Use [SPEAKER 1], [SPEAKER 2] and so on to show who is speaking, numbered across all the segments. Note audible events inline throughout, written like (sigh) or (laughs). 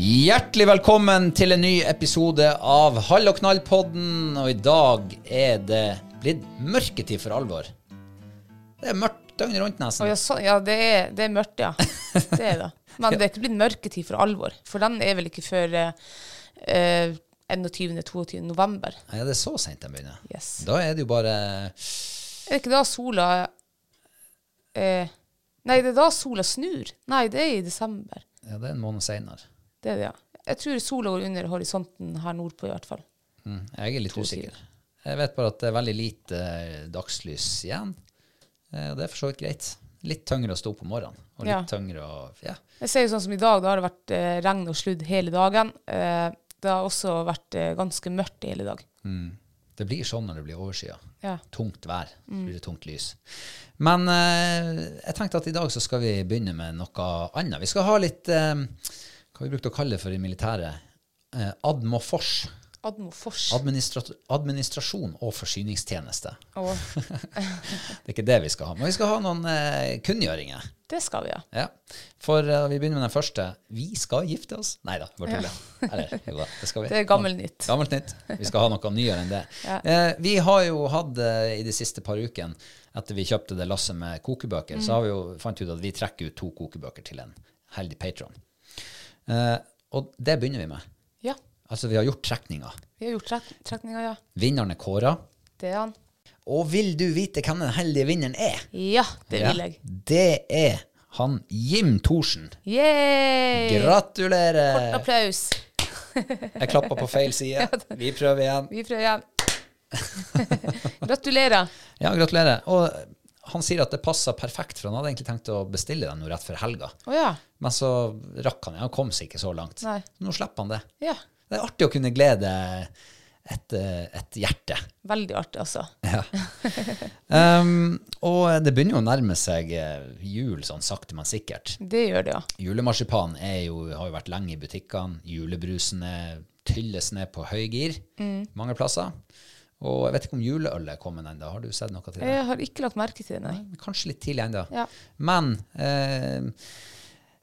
[SPEAKER 1] Hjertelig velkommen til en ny episode av Hall og knall-podden. Og i dag er det blitt mørketid for alvor. Det er mørkt døgnet rundt,
[SPEAKER 2] Å,
[SPEAKER 1] nesten.
[SPEAKER 2] ja, sånn. ja det, er, det er mørkt, ja. Det er (laughs) det. Men det er ikke blitt mørketid for alvor. For den er vel ikke før eh, eh, 21.-22. november.
[SPEAKER 1] Nei, det er så seint de begynner.
[SPEAKER 2] Yes.
[SPEAKER 1] Da er det jo bare
[SPEAKER 2] Er det ikke da sola eh, Nei, det er da sola snur. Nei, det er i desember.
[SPEAKER 1] Ja, det er en måned seinere.
[SPEAKER 2] Det er det, ja. Jeg tror sola går under horisonten her nordpå, i hvert fall.
[SPEAKER 1] Mm, jeg er litt
[SPEAKER 2] To
[SPEAKER 1] usikker.
[SPEAKER 2] sider.
[SPEAKER 1] Jeg vet bare at det er veldig lite eh, dagslys igjen. Eh, og det er for så vidt greit. Litt tyngre å stå opp om morgenen. Og litt
[SPEAKER 2] Ja.
[SPEAKER 1] tyngre å Ja.
[SPEAKER 2] Jeg ser jo sånn som i dag, da har det vært eh, regn og sludd hele dagen. Eh, det har også vært eh, ganske mørkt i hele dag.
[SPEAKER 1] Det blir sånn når det blir overskya.
[SPEAKER 2] Ja.
[SPEAKER 1] Tungt vær. Så blir det tungt lys. Men eh, jeg tenkte at i dag så skal vi begynne med noe annet. Vi skal ha litt eh, hva vi brukte å kalle det for i militæret. Eh, Admofors.
[SPEAKER 2] Admofors.
[SPEAKER 1] Administra administrasjon og forsyningstjeneste.
[SPEAKER 2] Og
[SPEAKER 1] Det er ikke det vi skal ha. Men vi skal ha noen eh, kunngjøringer.
[SPEAKER 2] det skal vi, ja.
[SPEAKER 1] Ja. For eh, vi begynner med den første. Vi skal gifte oss. Nei da, bare tuller. Eller, jo da, det skal vi.
[SPEAKER 2] (laughs) Det er gammelnytt.
[SPEAKER 1] Gammelt nytt. Vi skal ha noe nyere enn det.
[SPEAKER 2] (laughs) Ja.
[SPEAKER 1] Eh, vi har jo hatt eh, i de siste par ukene, etter vi kjøpte det lasset med kokebøker,
[SPEAKER 2] Mm.
[SPEAKER 1] så har vi jo fant ut at vi trekker ut to kokebøker til en heldig patron. Eh, og det begynner vi med.
[SPEAKER 2] Ja,
[SPEAKER 1] Altså, vi har gjort trekninger.
[SPEAKER 2] vi har gjort trek trekninger, ja.
[SPEAKER 1] Vinneren er kåra.
[SPEAKER 2] Det er han.
[SPEAKER 1] Og vil du vite hvem den heldige vinneren er?
[SPEAKER 2] Ja, det vil jeg.
[SPEAKER 1] Ja, det er han Jim Thorsen.
[SPEAKER 2] Yay! Kort
[SPEAKER 1] Gratulerer!
[SPEAKER 2] applaus.
[SPEAKER 1] Jeg klappa på feil
[SPEAKER 2] (laughs)
[SPEAKER 1] side. Vi prøver igjen.
[SPEAKER 2] Vi
[SPEAKER 1] (laughs)
[SPEAKER 2] prøver igjen. Gratulerer.
[SPEAKER 1] Ja, gratulerer. Og han sier at det passer perfekt, for han hadde egentlig tenkt å bestille den nå rett før helga.
[SPEAKER 2] Å ja.
[SPEAKER 1] Men så rakk han det. Han kom seg ikke så langt.
[SPEAKER 2] Nei.
[SPEAKER 1] Nå slipper han det.
[SPEAKER 2] Ja.
[SPEAKER 1] Det er artig å kunne glede et, eh, et hjerte.
[SPEAKER 2] Veldig artig, altså.
[SPEAKER 1] Um, og det begynner jo å nærme seg eh, jul sånn sakte, men sikkert.
[SPEAKER 2] Det gjør det, ja.
[SPEAKER 1] Julemarsipan er jo, har jo vært lenge i butikkene. Julebrusen er- tylles ned på høygir mange plasser. Og jeg vet ikke om juleøl er kommet ennå. Har du sett noe til det?
[SPEAKER 2] Jeg har ikke lagt merke til det, nei.
[SPEAKER 1] Kanskje litt tidlig ennå.
[SPEAKER 2] Ja.
[SPEAKER 1] Men eh,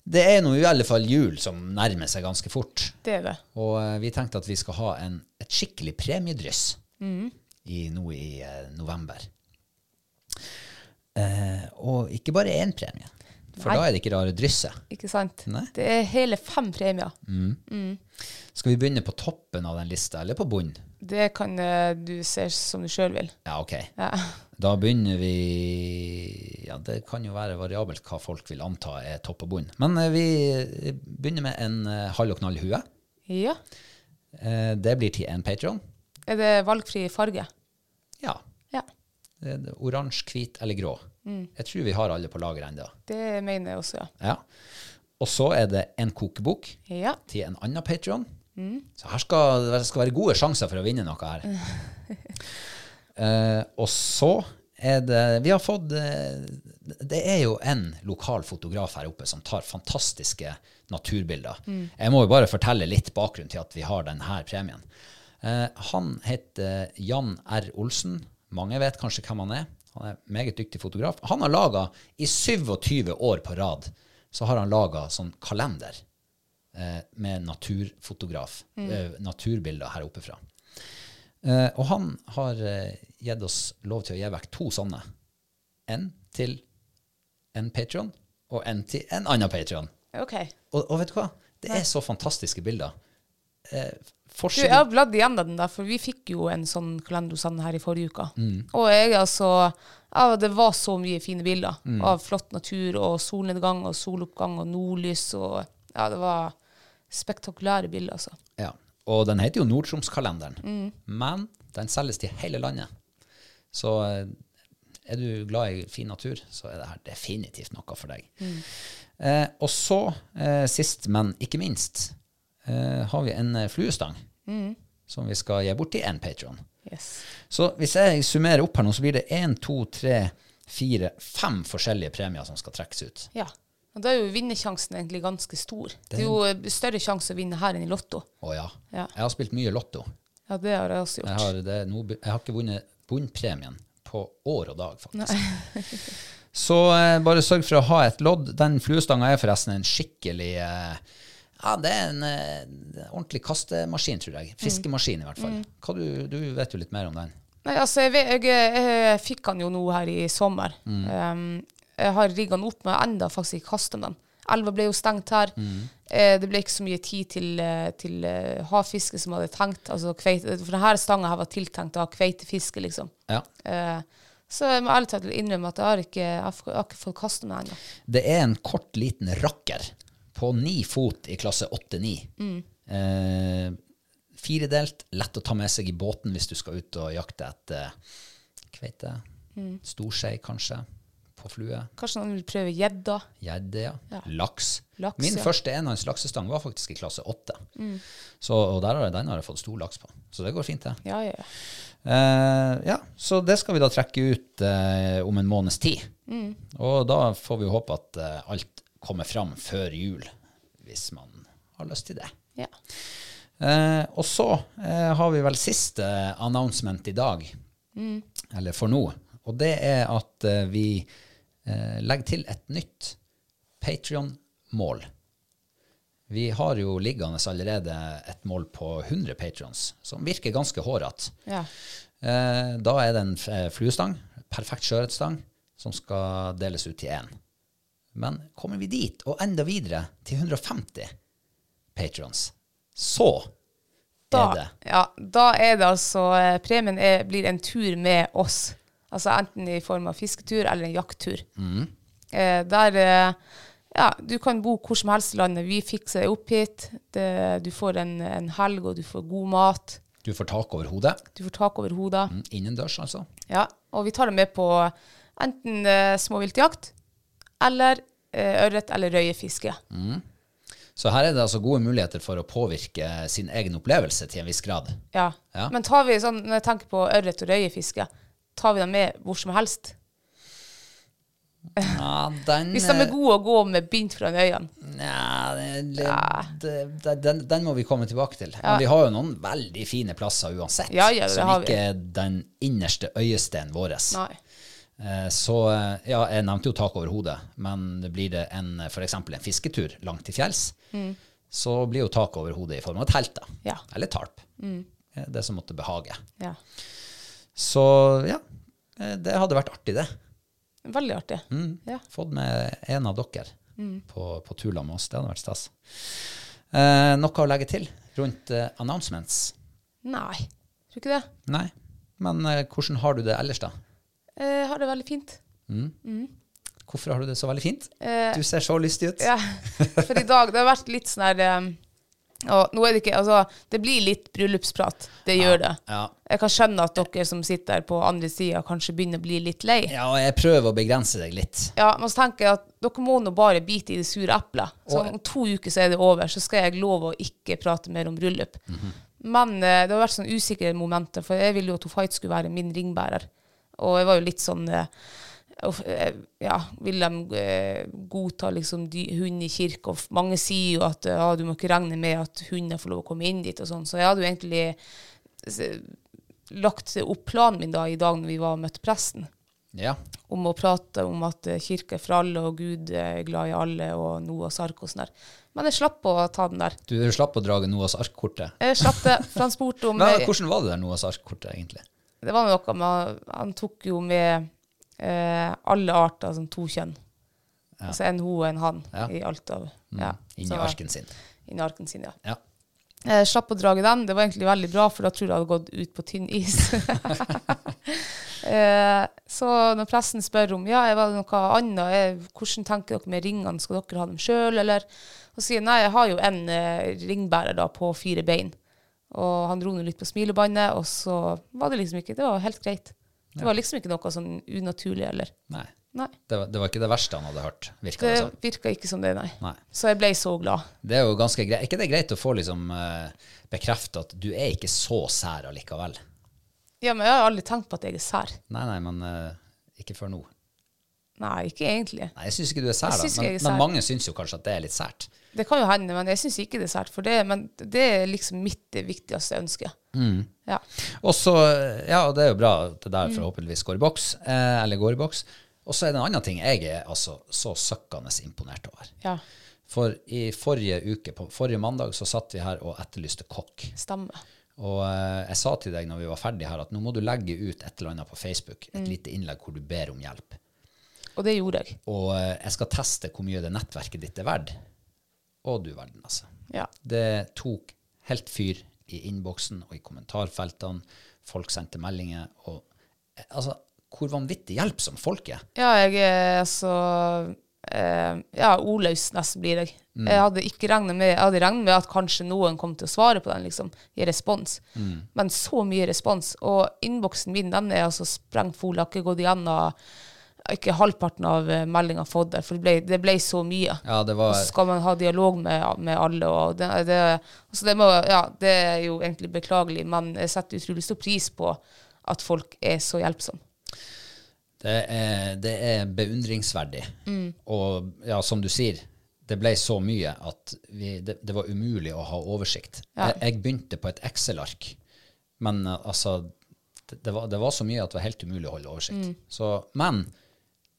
[SPEAKER 1] det er nå i alle fall jul som nærmer seg ganske fort.
[SPEAKER 2] Det er det.
[SPEAKER 1] Og eh, vi tenkte at vi skal ha en, et skikkelig premiedryss
[SPEAKER 2] Mm.
[SPEAKER 1] i, nå i eh, november. Eh, og ikke bare én premie, for
[SPEAKER 2] Nei.
[SPEAKER 1] da er det ikke rare drysset.
[SPEAKER 2] Ikke sant?
[SPEAKER 1] Nei. Mm.
[SPEAKER 2] Det er hele fem premier.
[SPEAKER 1] Skal vi begynne på toppen av den lista, eller på bunnen?
[SPEAKER 2] Det kan eh, du se som du sjøl vil.
[SPEAKER 1] Ja, OK.
[SPEAKER 2] Ja.
[SPEAKER 1] Da begynner vi Ja, det kan jo være variabelt hva folk vil anta er topp og bunn. Men eh, vi begynner med en eh, halv og knall hue.
[SPEAKER 2] Ja.
[SPEAKER 1] Eh, Det blir til en Patron.
[SPEAKER 2] Er det valgfri farge?
[SPEAKER 1] Ja.
[SPEAKER 2] Ja.
[SPEAKER 1] det er Oransje, hvit eller grå. Jeg tror vi har alle på lager ennå.
[SPEAKER 2] Det mener jeg også, ja.
[SPEAKER 1] Ja. Og så er det en kokebok
[SPEAKER 2] Ja.
[SPEAKER 1] til en annen Patron. Så her skal det være- skal være gode sjanser for å vinne noe her. Eh, og så er det Vi har fått eh, Det er jo en lokal fotograf her oppe som tar fantastiske naturbilder. Jeg må jo bare fortelle litt bakgrunn til at vi har denne premien. Eh, han heter Jan R. Olsen. Mange vet kanskje hvem han er. Han er en meget dyktig fotograf. Han har laga i 27 år på rad så har han laga sånn kalender eh, med naturfotograf, eh, naturbilder her oppe fra. Eh, og han har eh, gitt oss lov til å gi vekk to sånne. En til en Patron, og en til en annen Patron.
[SPEAKER 2] OK.
[SPEAKER 1] Og, og vet du hva? Det er så fantastiske bilder. Eh,
[SPEAKER 2] Du, jeg har
[SPEAKER 1] forskjell,
[SPEAKER 2] bladd igjen av den der, for vi fikk jo en sånn kalender hos han her i forrige uke. Og jeg altså ja, Det var så mye fine bilder av flott natur og solnedgang og soloppgang og nordlys og Ja, det var spektakulære bilder, altså.
[SPEAKER 1] ja. Og den heter jo Nord-Troms-kalenderen, men den selges til hele landet. Så eh, er du glad i fin natur, så er det her definitivt noe for deg. Eh, og så, eh, sist, men ikke minst, eh, har vi en eh, fluestang som vi skal gi bort til én patron.
[SPEAKER 2] Yes.
[SPEAKER 1] Så hvis jeg summerer opp her nå, så blir det én, to, tre, fire, fem forskjellige premier som skal trekkes ut.
[SPEAKER 2] Ja. Og da er jo vinnersjansen egentlig ganske stor. Det er jo eh, større sjanse å vinne her enn i Lotto.
[SPEAKER 1] Å ja.
[SPEAKER 2] Ja.
[SPEAKER 1] Jeg har spilt mye Lotto.
[SPEAKER 2] Ja, det har jeg også
[SPEAKER 1] Jeg
[SPEAKER 2] gjort.
[SPEAKER 1] har, det, er nå be- jeg har ikke vunnet bunnpremien på år og dag, faktisk. (laughs) så eh, bare sørg for å ha et lodd. Den fluestanga er forresten en skikkelig eh, ja, Det er en eh, ordentlig kastemaskin, tror jeg. Fiskemaskin, i hvert fall. Hva du, du vet jo litt mer om den.
[SPEAKER 2] Nei, altså, jeg, vet- jeg, jeg fikk han jo nå her i sommer. Um, jeg har rigga den opp, men jeg har enda faktisk ikke kasta den. Elva ble jo stengt her. Eh, det ble ikke så mye tid til, eh, til eh, havfiske som jeg hadde tenkt. Altså, kveite, for denne stanga her var tiltenkt å ha kveitefiske, liksom.
[SPEAKER 1] Ja.
[SPEAKER 2] Eh, så jeg må ærlig talt innrømme at jeg har ikke, jeg har ikke- jeg har ikke fått kaste den ennå.
[SPEAKER 1] Det er en kort, liten rakker på ni fot i klasse 8-9.
[SPEAKER 2] Mm.
[SPEAKER 1] Eh, firedelt, lett å ta med seg i båten hvis du skal ut og jakte etter kveite,
[SPEAKER 2] Mm.
[SPEAKER 1] storskei kanskje, på flue,
[SPEAKER 2] Kanskje noen vil prøve gjedda.
[SPEAKER 1] gjedde, ja.
[SPEAKER 2] Ja.
[SPEAKER 1] laks.
[SPEAKER 2] Laks,
[SPEAKER 1] Min
[SPEAKER 2] ja. Mm.
[SPEAKER 1] første enhånds laksestang var faktisk i klasse 8. Så, og der har jeg, den har jeg fått stor laks på. Så det går fint, det.
[SPEAKER 2] Ja, ja, ja.
[SPEAKER 1] Eh, ja, så det skal vi da trekke ut eh, om en måneds tid. Og da får vi håpe at eh, alt kommer fram før jul, hvis man har lyst til det.
[SPEAKER 2] ja.
[SPEAKER 1] Eh, og så eh, har vi vel siste announcement i dag, eller for nå. Og det er at eh, vi eh, legger til et nytt Patrion-mål. Vi har jo liggende allerede et mål på 100 patrons, som virker ganske hårete.
[SPEAKER 2] ja.
[SPEAKER 1] Eh, Da er det en eh, fluestang, perfekt sjøørretstang, som skal deles ut til én. Men kommer vi dit, og enda videre, til 150 patrons, så
[SPEAKER 2] da,
[SPEAKER 1] er det
[SPEAKER 2] Ja, da er det altså eh, Premien er, blir en tur med oss. Altså enten i form av fisketur eller en jakttur.
[SPEAKER 1] Mm.
[SPEAKER 2] Eh, der eh, Ja, du kan bo hvor som helst i landet. Vi fikser deg opp hit. Det, du får en, en helg, og du får god mat.
[SPEAKER 1] Du får tak over hodet.
[SPEAKER 2] Du får tak over hodet.
[SPEAKER 1] Innendørs, altså.
[SPEAKER 2] Ja, og vi tar deg med på enten eh, småviltjakt eller eh, ørret eller røyefiske.
[SPEAKER 1] Mm. Så her er det altså gode muligheter for å påvirke sin egen opplevelse til en viss grad.
[SPEAKER 2] Ja.
[SPEAKER 1] Ja.
[SPEAKER 2] Men tar vi sånn, når jeg tenker på ørret og røyefiske, tar vi dem med hvor som helst?
[SPEAKER 1] Ja, den, eh,
[SPEAKER 2] Hvis de er gode å gå med bind foran øynene.
[SPEAKER 1] Nja, det- det- det- den, den må vi komme tilbake til. Men vi har jo noen veldig fine plasser uansett,
[SPEAKER 2] Ja, ja, det har
[SPEAKER 1] som
[SPEAKER 2] vi.
[SPEAKER 1] ikke er den innerste øyesteinen vår.
[SPEAKER 2] Nei.
[SPEAKER 1] Eh, Så eh, ja, jeg nevnte jo tak over hodet, men blir det en, eh, for eksempel en fisketur langt til fjells, så blir jo tak over hodet i form av telt, da.
[SPEAKER 2] Mm. Ja. Mm.
[SPEAKER 1] Eller tarp. Eh, Det som måtte behage.
[SPEAKER 2] Ja.
[SPEAKER 1] Så ja, eh, det hadde vært artig, det.
[SPEAKER 2] Veldig artig.
[SPEAKER 1] Mm.
[SPEAKER 2] Ja.
[SPEAKER 1] Fått med en av dere
[SPEAKER 2] Mm.
[SPEAKER 1] på, på tur sammen med oss. Det hadde vært stas. Eh, noe å legge til rundt eh, announcements?
[SPEAKER 2] Nei, tror ikke det.
[SPEAKER 1] Nei. Men eh, hvordan har du det ellers, da?
[SPEAKER 2] eh, har det veldig fint.
[SPEAKER 1] Hvorfor har du det så veldig fint?
[SPEAKER 2] Eh,
[SPEAKER 1] Du ser så lystig ut. (laughs)
[SPEAKER 2] Ja, for i dag det har vært litt sånn her eh, og nå er det ikke, altså, det blir litt bryllupsprat. Det gjør det.
[SPEAKER 1] ja.
[SPEAKER 2] Jeg kan skjønne at dere som sitter på andre sida, kanskje begynner å bli litt lei.
[SPEAKER 1] Ja, og jeg prøver å begrense deg litt.
[SPEAKER 2] Ja, men så tenker jeg at dere må nå bare bite i det sure eplet. Så
[SPEAKER 1] Og-
[SPEAKER 2] om to uker så er det over, så skal jeg love å ikke prate mer om bryllup. Men eh, det har vært sånn usikre momenter, for jeg ville jo at hun Fight skulle være min ringbærer. Og jeg var jo litt sånn eh, uff, eh, Ja, vil de eh, godta liksom de, hun i kirke? Og f- mange sier jo at eh, ja, du må ikke regne med at hunder får lov å komme inn dit og sånn. Så jeg hadde jo egentlig s- lagt opp planen min da i dag når vi var og møtte presten
[SPEAKER 1] Ja.
[SPEAKER 2] om å prate om at eh, kirke er for alle, og Gud er glad i alle, og Noah Sark og sånn der. Men jeg slapp å ta den der.
[SPEAKER 1] Du slapp å drage Noahs ark-kortet.
[SPEAKER 2] Jeg slapp det, for han spurte om
[SPEAKER 1] (laughs) Men
[SPEAKER 2] jeg-
[SPEAKER 1] Hvordan var det der Noahs ark-kortet, egentlig?
[SPEAKER 2] Det var noe med Han tok jo med eh, alle arter som to kjønn. Altså en ho og en han
[SPEAKER 1] Ja.
[SPEAKER 2] i alt av ja.
[SPEAKER 1] Inni
[SPEAKER 2] så-
[SPEAKER 1] arken sin.
[SPEAKER 2] Inni arken sin, ja.
[SPEAKER 1] Ja.
[SPEAKER 2] Jeg Eh, slapp å drage den. Det var egentlig veldig bra, for da tror jeg jeg hadde gått ut på tynn is. (laughs) Eh, så når pressen spør om ja, jeg var det noe annet, jeg, hvordan tenker dere med ringene, skal dere ha dem sjøl, eller? Og sier jeg, nei, jeg har jo en eh, ringbærer da på fire bein. Og han dro nå litt på smilebåndet, og så var det liksom ikke Det var helt greit. Det var liksom ikke noe sånn unaturlig, eller?
[SPEAKER 1] Nei.
[SPEAKER 2] Nei.
[SPEAKER 1] Det var, det var ikke det verste han hadde hørt, virka
[SPEAKER 2] Det
[SPEAKER 1] det som.
[SPEAKER 2] virka ikke som det, nei.
[SPEAKER 1] Nei.
[SPEAKER 2] Så jeg ble så glad.
[SPEAKER 1] Det er jo ganske greit. Er ikke det greit å få liksom eh, bekrefta at du er ikke så sær allikevel?
[SPEAKER 2] Ja, men jeg har aldri tenkt på at jeg er sær.
[SPEAKER 1] Nei, nei, men eh, ikke før nå.
[SPEAKER 2] Nei, ikke egentlig.
[SPEAKER 1] Nei, jeg syns ikke du er sær,
[SPEAKER 2] Jeg
[SPEAKER 1] da.
[SPEAKER 2] synes ikke
[SPEAKER 1] Men,
[SPEAKER 2] jeg er
[SPEAKER 1] men
[SPEAKER 2] sær.
[SPEAKER 1] mange syns jo kanskje at det er litt sært.
[SPEAKER 2] Det kan jo hende, men jeg syns ikke det er sært for det. Men det er liksom mitt det viktigste ønske. Ja.
[SPEAKER 1] Og så, eh, ja, og det er jo bra at det
[SPEAKER 2] Mm.
[SPEAKER 1] der forhåpentligvis går i boks, eh, eller går i boks. Og så er det en annen ting jeg er altså så søkkende imponert over.
[SPEAKER 2] ja.
[SPEAKER 1] For i forrige uke, på forrige mandag, så satt vi her og etterlyste kokk.
[SPEAKER 2] Stemmer.
[SPEAKER 1] Og eh, jeg sa til deg når vi var ferdige her, at nå må du legge ut et eller annet på Facebook,
[SPEAKER 2] Mm.
[SPEAKER 1] et lite innlegg hvor du ber om hjelp.
[SPEAKER 2] Og det gjorde jeg.
[SPEAKER 1] Og eh, jeg skal teste hvor mye det nettverket ditt er verdt. Og du verden, altså.
[SPEAKER 2] Ja.
[SPEAKER 1] Det tok helt fyr i innboksen og i kommentarfeltene. Folk sendte meldinger. Og eh, altså, hvor vanvittig hjelpsom folk er.
[SPEAKER 2] Ja, jeg er altså eh, Ja, ordløs nesten blir jeg. Jeg hadde ikke regnet med Jeg hadde regnet med at kanskje noen kom til å svare på den, liksom, i respons. Men så mye respons. Og innboksen min, den er altså sprengfull. Jeg har ikke gått igjennom ikke halvparten av meldinga fått der, for det ble, det ble så mye.
[SPEAKER 1] Ja, det var
[SPEAKER 2] Og så skal man ha dialog med, med alle. Og det, det, altså det, må, ja, det er jo egentlig beklagelig, men jeg setter utrolig stor pris på at folk er så hjelpsomme.
[SPEAKER 1] Det er, det er beundringsverdig. Og ja, som du sier, det ble så mye at vi, det, det var umulig å ha oversikt. Jeg, jeg begynte på et Excel-ark, men eh, altså det, det, var, det var så mye at det var helt umulig å holde oversikt. Så, men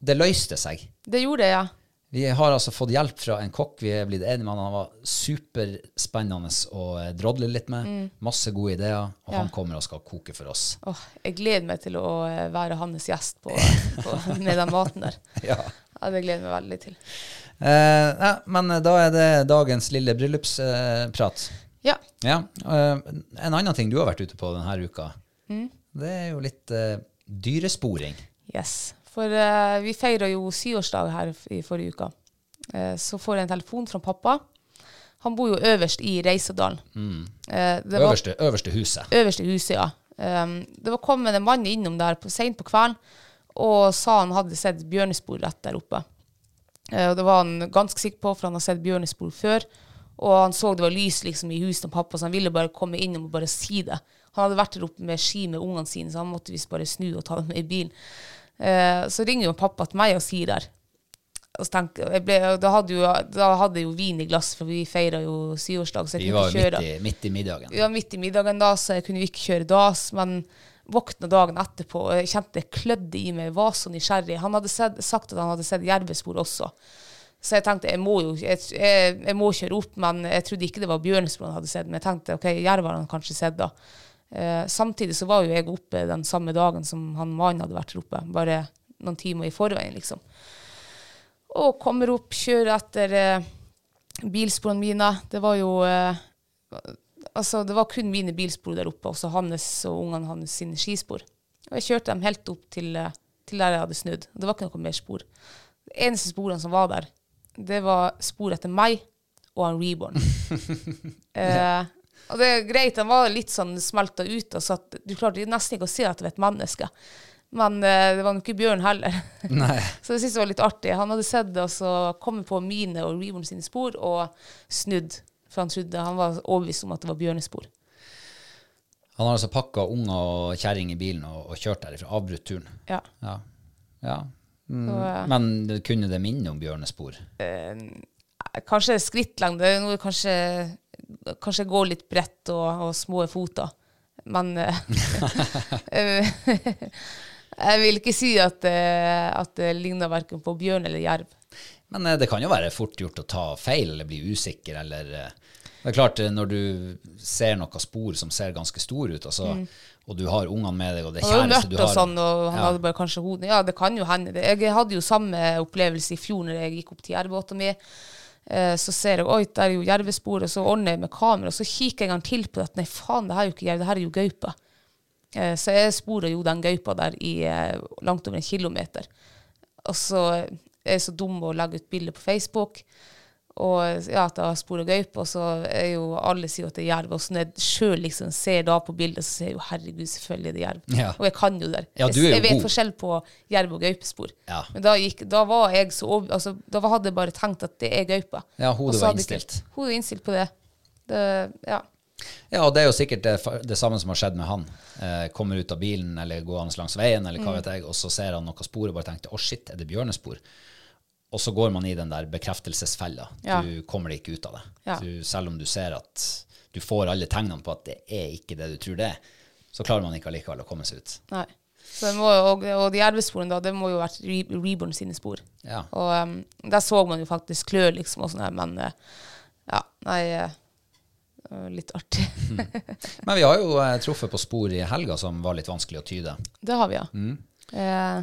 [SPEAKER 1] det løste seg.
[SPEAKER 2] Det gjorde jeg, ja.
[SPEAKER 1] Vi har altså fått hjelp fra en kokk vi er blitt enige med. Han Han var superspennende å eh, drodle litt med.
[SPEAKER 2] Mm.
[SPEAKER 1] Masse gode ideer. Og han kommer og skal koke for oss.
[SPEAKER 2] Åh, jeg gleder meg til å eh, være hans gjest på, på, med den maten der.
[SPEAKER 1] Ja.
[SPEAKER 2] Ja, det gleder jeg meg veldig til.
[SPEAKER 1] Eh, ja, men eh, da er det dagens lille bryllupsprat.
[SPEAKER 2] Ja,
[SPEAKER 1] ja. eh, en annen ting du har vært ute på denne uka,
[SPEAKER 2] Mm.
[SPEAKER 1] det er jo litt eh, dyresporing.
[SPEAKER 2] yes. For eh, vi feira jo syvårsdag her f- i forrige uke. Eh, så får jeg en telefon fra pappa. Han bor jo øverst i Reisadalen. Eh, det var-
[SPEAKER 1] Øverste, øverste huset.
[SPEAKER 2] øverste huset, ja. Ehm, det var kommet en mann innom der på, sent på kvelden og sa han hadde sett bjørnespor rett der oppe. Eh, og det var han ganske sikker på, for han har sett bjørnespor før. Og han så det var lys liksom, i huset til pappa, så han ville bare komme innom og bare si det. Han hadde vært der oppe med ski med ungene sine, så han måtte visst bare snu og ta dem med i bilen. Eh, så ringer jo pappa til meg og sier der. Og så tenker, jeg- jeg ble, da, hadde jo, da hadde jeg jo vin i glasset, for vi feira jo syvårsdag. Så jeg
[SPEAKER 1] Vi
[SPEAKER 2] kunne
[SPEAKER 1] var
[SPEAKER 2] ikke
[SPEAKER 1] jo midt
[SPEAKER 2] kjøre.
[SPEAKER 1] i, midt i middagen.
[SPEAKER 2] Vi var midt i middagen da, så jeg kunne jo ikke kjøre DAS, men våkna dagen etterpå, og jeg kjente det klødde i meg, jeg var så nysgjerrig. Han hadde sett, sagt at han hadde sett jervespor også. Så jeg tenkte, jeg må jo jeg, jeg, jeg må kjøre opp, men jeg trodde ikke det var bjørnespor han hadde sett, men jeg tenkte, ok, jerv har han kanskje sett da. Eh, samtidig så var jo jeg oppe den samme dagen som han mannen hadde vært oppe, bare noen timer i forveien, liksom. Og kommer opp, kjører etter eh, bilsporene mine. Det var jo eh, Altså, det var kun mine bilspor der oppe, også hans og ungene hans sine skispor. Og jeg kjørte dem helt opp til eh, til der jeg hadde snudd. Det var ikke noe mer spor. De eneste sporene som var der, det var spor etter meg og han Reborn. eh, og det er greit, han var litt sånn smelta ut, og så at du klarte nesten ikke å se at det var et menneske. Men eh, det var nok ikke bjørn heller. (laughs)
[SPEAKER 1] Nei.
[SPEAKER 2] Så det synes jeg var litt artig. Han hadde sett det, og så kommet på mine og Reborn sine spor, og snudd. For han trodde han var overbevist om at det var bjørnespor.
[SPEAKER 1] Han har altså pakka unger og kjerring i bilen og, og kjørt derifra. Avbrutt turen.
[SPEAKER 2] Ja.
[SPEAKER 1] Ja. ja. Mm.
[SPEAKER 2] Så, eh,
[SPEAKER 1] Men det kunne det minne om bjørnespor?
[SPEAKER 2] Eh, kanskje skrittlengde. Noe kanskje, kanskje gå litt bredt og, og små føtter. Men eh, (laughs) eh, Jeg vil ikke si at, eh, at det ligner verken på bjørn eller jerv.
[SPEAKER 1] Men eh, det kan jo være fort gjort å ta feil eller bli usikker eller eh, Det er klart, eh, når du ser noen spor som ser ganske store ut, altså, og du har ungene med deg, og det
[SPEAKER 2] Det
[SPEAKER 1] er
[SPEAKER 2] var jo
[SPEAKER 1] kjæreste
[SPEAKER 2] mørkt
[SPEAKER 1] du
[SPEAKER 2] Mm. og
[SPEAKER 1] har
[SPEAKER 2] sånn, og han
[SPEAKER 1] Ja.
[SPEAKER 2] hadde bare kanskje hodet Ja, det kan jo hende. Det- Jeg hadde jo samme opplevelse i fjor når jeg gikk opp til jervbåta mi. Eh, Så ser jeg oi, der er jo jervespor, og så ordner jeg med kamera. og Så kikker jeg en gang til på det, at nei, faen, det her er jo ikke jerv, det her er jo gaupe. Eh, Så jeg sporer jo den gaupa der i eh, langt over en kilometer. Og så er jeg så dum å legge ut bilde på Facebook. Og ja, at jeg har spor og gaupe, og så er jo alle sier jo at det er jerv. Og så når jeg sjøl liksom ser da på bildet, så ser jeg jo herregud, selvfølgelig er det jerv.
[SPEAKER 1] Ja.
[SPEAKER 2] Og jeg kan jo det. der.
[SPEAKER 1] Ja, du er
[SPEAKER 2] jeg,
[SPEAKER 1] jo
[SPEAKER 2] jeg vet
[SPEAKER 1] god.
[SPEAKER 2] forskjell på jerv og gaupespor.
[SPEAKER 1] Ja.
[SPEAKER 2] Men da, gikk, da var jeg så over, altså, da hadde jeg bare tenkt at det er gaupe.
[SPEAKER 1] Ja, hodet
[SPEAKER 2] Og så
[SPEAKER 1] var
[SPEAKER 2] hadde jeg ikke-
[SPEAKER 1] innstilt.
[SPEAKER 2] Hodet var innstilt på det. det ja.
[SPEAKER 1] Ja, og det er jo sikkert det, fa- det samme som har skjedd med han. Eh, kommer ut av bilen eller går han langs veien, eller hva
[SPEAKER 2] Mm.
[SPEAKER 1] vet jeg, og så ser han noe spor og bare tenkte å shit, er det bjørnespor? Og så går man i den der bekreftelsesfella.
[SPEAKER 2] Ja.
[SPEAKER 1] Du kommer deg ikke ut av det.
[SPEAKER 2] Ja.
[SPEAKER 1] Du, selv om du ser at du får alle tegnene på at det er ikke det du tror det er, så klarer man ikke allikevel å komme seg ut.
[SPEAKER 2] Nei. Så det må, jo- og, og de jervesporene, da, det må jo ha vært Re Reborn sine spor.
[SPEAKER 1] Ja.
[SPEAKER 2] Og em, der så man jo faktisk klør, liksom, og sånn her, men eh, ja, nei eh, det var Litt artig. (laughs)
[SPEAKER 1] Men vi har jo eh, truffet på spor i helga som var litt vanskelig å tyde.
[SPEAKER 2] Det har vi, ja. Eh,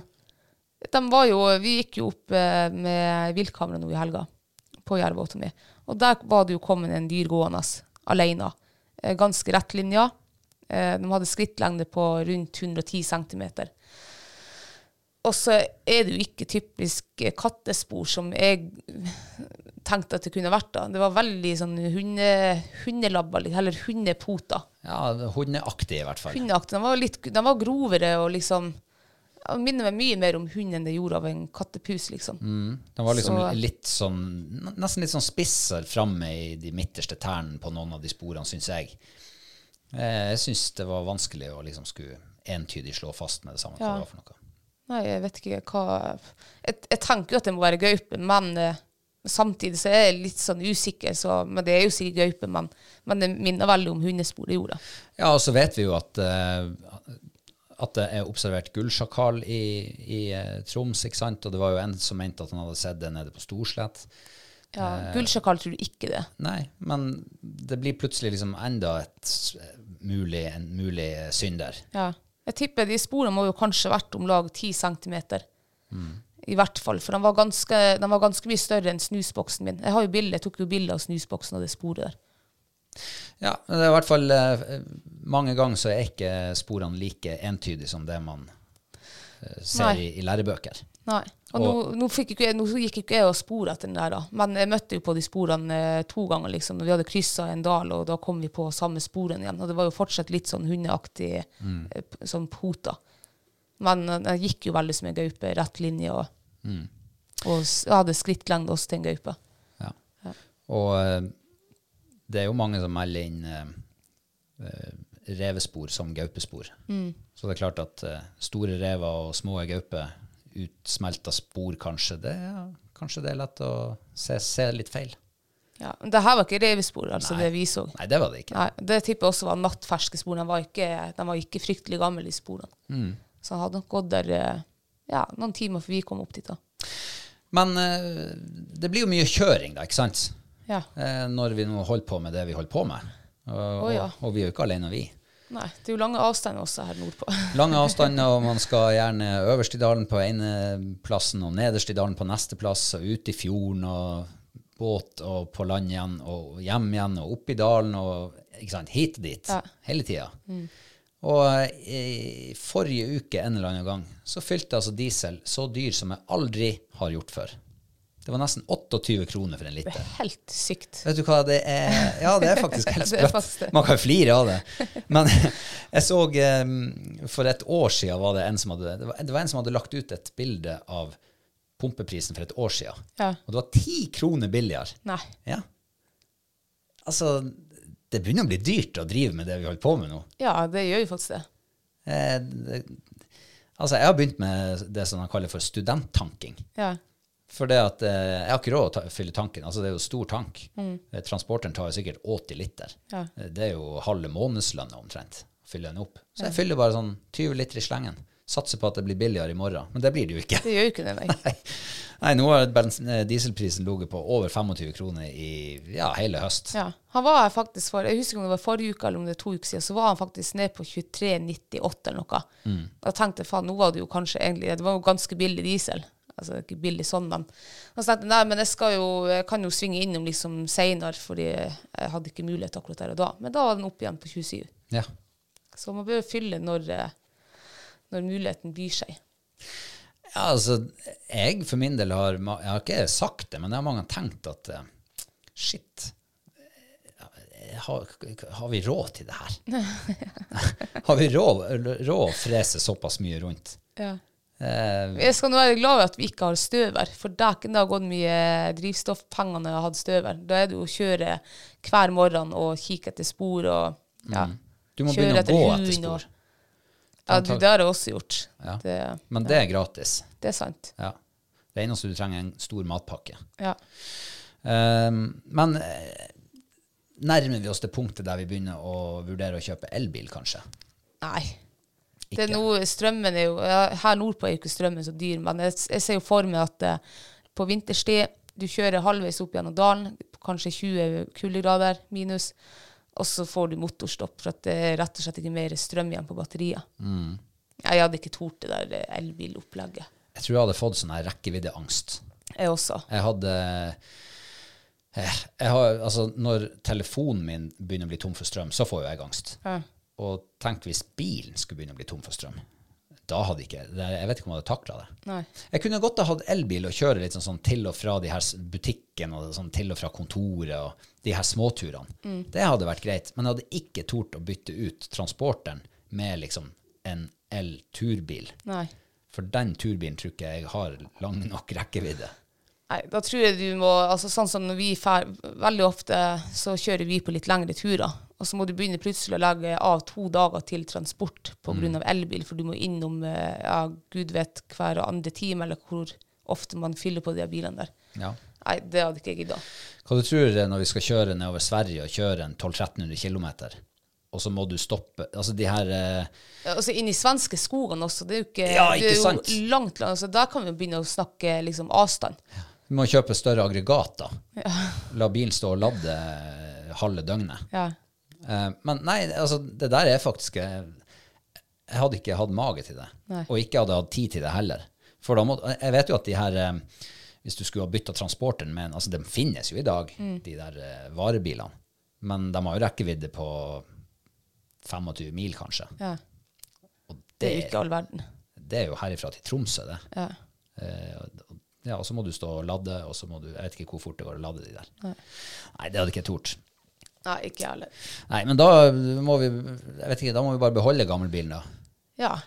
[SPEAKER 2] de var jo, vi gikk jo opp eh, med viltkamera nå i helga, på Jervåta mi. Og der var det jo kommet en dyr gående alene. Eh, ganske rett linja. Eh, de hadde skrittlengde på rundt 110 cm. Og så er det jo ikke typisk eh, kattespor som jeg tenkte at det kunne vært. da. Det var veldig sånn hunde, hundelabber, eller hundepoter
[SPEAKER 1] Ja, det er hundeaktig i hvert fall.
[SPEAKER 2] hundeaktig. Den var, litt, den var grovere og liksom ja, minner meg mye mer om hund enn det gjorde av en kattepus, liksom.
[SPEAKER 1] Den var liksom
[SPEAKER 2] Så-
[SPEAKER 1] litt sånn, nesten litt sånn spisser framme i de midterste tærne på noen av de sporene, syns jeg. Eh, Jeg syns det var vanskelig å liksom skulle entydig slå fast med det samme hva
[SPEAKER 2] Ja.
[SPEAKER 1] det var for noe.
[SPEAKER 2] Nei, jeg vet ikke hva Jeg, jeg tenker jo at det må være gaupe, men eh, samtidig så er jeg litt sånn usikker, så Men det er jo sikkert gaupe, men, men det minner veldig om hundespor det gjorde.
[SPEAKER 1] Ja, og så vet vi jo at, eh, at det er observert gullsjakal i, i eh, Troms, ikke sant? Og det var jo en som mente at han hadde sett det nede på Storslett.
[SPEAKER 2] Ja, Gullsjakal tror du ikke det.
[SPEAKER 1] Nei, men det blir plutselig liksom enda et s- mulig, en mulig eh, synder.
[SPEAKER 2] Ja. Jeg tipper de sporene må jo kanskje vært om lag 10 cm. I hvert fall, for den var, ganske, den var ganske mye større enn snusboksen min. Jeg, har jo bilde, jeg tok jo bilde av snusboksen og det sporet der.
[SPEAKER 1] Ja, men det er i hvert fall eh, mange ganger så er ikke sporene like entydige som det man eh, ser
[SPEAKER 2] Nei.
[SPEAKER 1] i, i lærebøker.
[SPEAKER 2] Nei. Og,
[SPEAKER 1] Og-
[SPEAKER 2] nå, nå, fikk ikke, jeg- nå gikk ikke jeg og spor etter den der, da. Men jeg møtte jo på de sporene eh, to ganger, liksom. Når vi hadde kryssa en dal, og da kom vi på samme sporen igjen. Og det var jo fortsatt litt sånn hundeaktig,
[SPEAKER 1] Mm.
[SPEAKER 2] eh, p- sånn pota. Men eh, den gikk jo veldig som en gaupe, rett linje, og,
[SPEAKER 1] Mm.
[SPEAKER 2] og s- jeg hadde skrittlengde også til en gaupe.
[SPEAKER 1] Ja. Og eh, det er jo mange som melder inn eh, eh, revespor som gaupespor. Så det er klart at eh, store rever og små gauper, utsmelta spor kanskje, det, ja, kanskje det er lett å se, se litt feil.
[SPEAKER 2] Ja. Men det her var ikke revespor, altså,
[SPEAKER 1] Nei.
[SPEAKER 2] det vi så.
[SPEAKER 1] Nei, det var det ikke.
[SPEAKER 2] Nei, det tipper jeg også var nattferske spor. De var ikke, de var ikke fryktelig gamle, de sporene.
[SPEAKER 1] Mm.
[SPEAKER 2] Så han hadde nok gått der eh, ja, noen timer før vi kom opp dit. da.
[SPEAKER 1] Men eh, det blir jo mye kjøring, da, ikke sant?
[SPEAKER 2] Ja.
[SPEAKER 1] eh, når vi nå holder på med det vi holder på med. Og,
[SPEAKER 2] Å, ja.
[SPEAKER 1] og, og vi er jo ikke alene, vi.
[SPEAKER 2] Nei, det er jo lange avstander også her nordpå. (laughs)
[SPEAKER 1] Lange avstander, og man skal gjerne øverst i dalen på ene plassen, og nederst i dalen på neste plass, og ut i fjorden, og båt, og på land igjen, og hjem igjen, og opp i dalen, og ikke sant, hit og dit,
[SPEAKER 2] Ja. Mm.
[SPEAKER 1] hele tida. Og eh, i forrige uke en eller annen gang så fylte altså diesel så dyr som jeg aldri har gjort før. Det var nesten 28 kroner for en
[SPEAKER 2] Det
[SPEAKER 1] liter.
[SPEAKER 2] er helt sykt.
[SPEAKER 1] Vet du hva, det er Ja, det er
[SPEAKER 2] (laughs)
[SPEAKER 1] faktisk helt
[SPEAKER 2] Det er
[SPEAKER 1] sprøtt.
[SPEAKER 2] faktisk det.
[SPEAKER 1] Man kan jo flire av det. Men (laughs) jeg så eh, For et år siden var det en som hadde det var, det var en som hadde lagt ut et bilde av pumpeprisen for et år siden.
[SPEAKER 2] Ja.
[SPEAKER 1] Og det var ti kroner billigere.
[SPEAKER 2] Nei.
[SPEAKER 1] Ja. Altså, det begynner å bli dyrt å drive med det vi holder på med nå.
[SPEAKER 2] Ja, det gjør jo faktisk det.
[SPEAKER 1] Eh, det, altså, jeg har begynt med det som han kaller for studenttanking.
[SPEAKER 2] Ja.
[SPEAKER 1] For det at eh, jeg har ikke råd å ta, fylle tanken. Altså, det er jo stor tank. Eh, Transporteren tar jo sikkert 80 liter.
[SPEAKER 2] Mm. Ja.
[SPEAKER 1] Eh, Det er jo halve månedslønna omtrent. å Fylle den opp. Så jeg fyller bare sånn 20 liter i slengen. Satser på at det blir billigere i morgen. Men det blir det jo ikke.
[SPEAKER 2] Det gjør jo ikke det, nei.
[SPEAKER 1] Nei, Nei nå har bensin- eh, dieselprisen ligget på over 25 kroner i ja, hele høst.
[SPEAKER 2] Ja. Han var her faktisk for, Jeg husker ikke om det var forrige uke eller om det er to uker siden, så var han faktisk ned på 23,98 eller noe. Da tenkte jeg faen, nå var det jo kanskje egentlig Det var jo ganske billig diesel. Altså det er ikke billig sånn, men Og så tenkte jeg nei, men jeg, skal jo, jeg kan jo svinge innom liksom seinere, fordi jeg hadde ikke mulighet akkurat der og da. Men da var den opp igjen på 27.
[SPEAKER 1] Ja.
[SPEAKER 2] Så man bør jo fylle når, eh, når muligheten byr seg.
[SPEAKER 1] Ja, altså, jeg for min del har ma- Jeg har ikke sagt det, men jeg har mange ganger tenkt at eh, Shit. eh, Har, har vi råd til det
[SPEAKER 2] (laughs)
[SPEAKER 1] her? (laughs) har vi råd, råd å frese såpass mye rundt?
[SPEAKER 2] Ja.
[SPEAKER 1] Eh,
[SPEAKER 2] Jeg skal nå være glad over at vi ikke har støver, for dæken, det har gått mye drivstoffpenger når jeg har hatt støver. Da er det jo å kjøre hver morgen og kikke etter spor og ja.
[SPEAKER 1] du Mm. må
[SPEAKER 2] Kjøre
[SPEAKER 1] begynne å gå
[SPEAKER 2] hund
[SPEAKER 1] etter spor.
[SPEAKER 2] Og, ja, du, det har jeg også gjort.
[SPEAKER 1] Ja.
[SPEAKER 2] Det,
[SPEAKER 1] Men det er gratis.
[SPEAKER 2] det er sant.
[SPEAKER 1] Ja. Det eneste du trenger, er en stor matpakke.
[SPEAKER 2] Ja.
[SPEAKER 1] Ehm, men eh, nærmer vi oss det punktet der vi begynner å vurdere å kjøpe elbil, kanskje?
[SPEAKER 2] Nei. Det
[SPEAKER 1] Ikke.
[SPEAKER 2] er noe, strømmen er jo, ja, her nordpå er jo ikke strømmen så dyr, men jeg, jeg ser jo for meg at eh, på vinterstid du kjører halvveis opp gjennom dalen, kanskje 20 kuldegrader minus, og så får du motorstopp, for at det er rett og slett ikke mer strøm igjen på batteriet. Jeg hadde ikke tort det der eh, elbilopplegget.
[SPEAKER 1] Jeg tror jeg hadde fått sånn her rekkeviddeangst.
[SPEAKER 2] Jeg også.
[SPEAKER 1] Jeg hadde eh, jeg har, altså, Når telefonen min begynner å bli tom for strøm, så får jo jeg angst. Og tenk hvis bilen skulle begynne å bli tom for strøm. Da hadde ikke, det- Jeg vet ikke om jeg hadde takla det.
[SPEAKER 2] Nei.
[SPEAKER 1] Jeg kunne godt ha hatt elbil og kjøre litt sånn, sånn til og fra de her s- butikken og sånn til og fra kontoret og de her småturene. Det hadde vært greit, men jeg hadde ikke tort å bytte ut transporteren med liksom en el-turbil.
[SPEAKER 2] Nei.
[SPEAKER 1] For den turbilen tror ikke jeg har lang nok rekkevidde.
[SPEAKER 2] Nei, da tror jeg du må altså Sånn som når vi fær, Veldig ofte så kjører vi på litt lengre turer. Og så må du begynne plutselig å legge av to dager til transport pga. av elbil, for du må innom eh, ja, gud vet hver andre time, eller hvor ofte man fyller på de her bilene der.
[SPEAKER 1] Ja.
[SPEAKER 2] Nei, det hadde ikke jeg gidda.
[SPEAKER 1] Hva du tror du når vi skal kjøre nedover Sverige og kjøre en 1200-1300 km, og så må du stoppe Altså de her eh,
[SPEAKER 2] Altså inn i svenske skogene også, det er jo ikke,
[SPEAKER 1] Ja,
[SPEAKER 2] det
[SPEAKER 1] ikke
[SPEAKER 2] er jo
[SPEAKER 1] sant?
[SPEAKER 2] langt, langt så Der kan vi jo begynne å snakke liksom avstand.
[SPEAKER 1] Du må kjøpe større aggregater. La bilen stå og lade eh, halve døgnet.
[SPEAKER 2] Ja.
[SPEAKER 1] Eh, men nei, altså, det der er faktisk eh, Jeg hadde ikke hatt mage til det.
[SPEAKER 2] Nei.
[SPEAKER 1] Og ikke hadde hatt tid til det heller. For da må, jeg vet jo at de her eh, Hvis du skulle ha bytta transporteren med en Altså, de finnes jo i dag, de der eh, varebilene. Men de har jo rekkevidde på 25 mil, kanskje.
[SPEAKER 2] ja.
[SPEAKER 1] Og
[SPEAKER 2] Det er jo ikke all verden.
[SPEAKER 1] det er jo herifra til Tromsø, det.
[SPEAKER 2] Ja.
[SPEAKER 1] Eh, og- ja, og så må du stå og lade, og så må du Jeg vet ikke hvor fort det går å lade de der. Nei, det hadde ikke jeg tort.
[SPEAKER 2] Nei, ikke jeg heller.
[SPEAKER 1] Nei, men da må vi Jeg vet ikke, da må vi bare beholde gammelbilen, da.
[SPEAKER 2] Ja.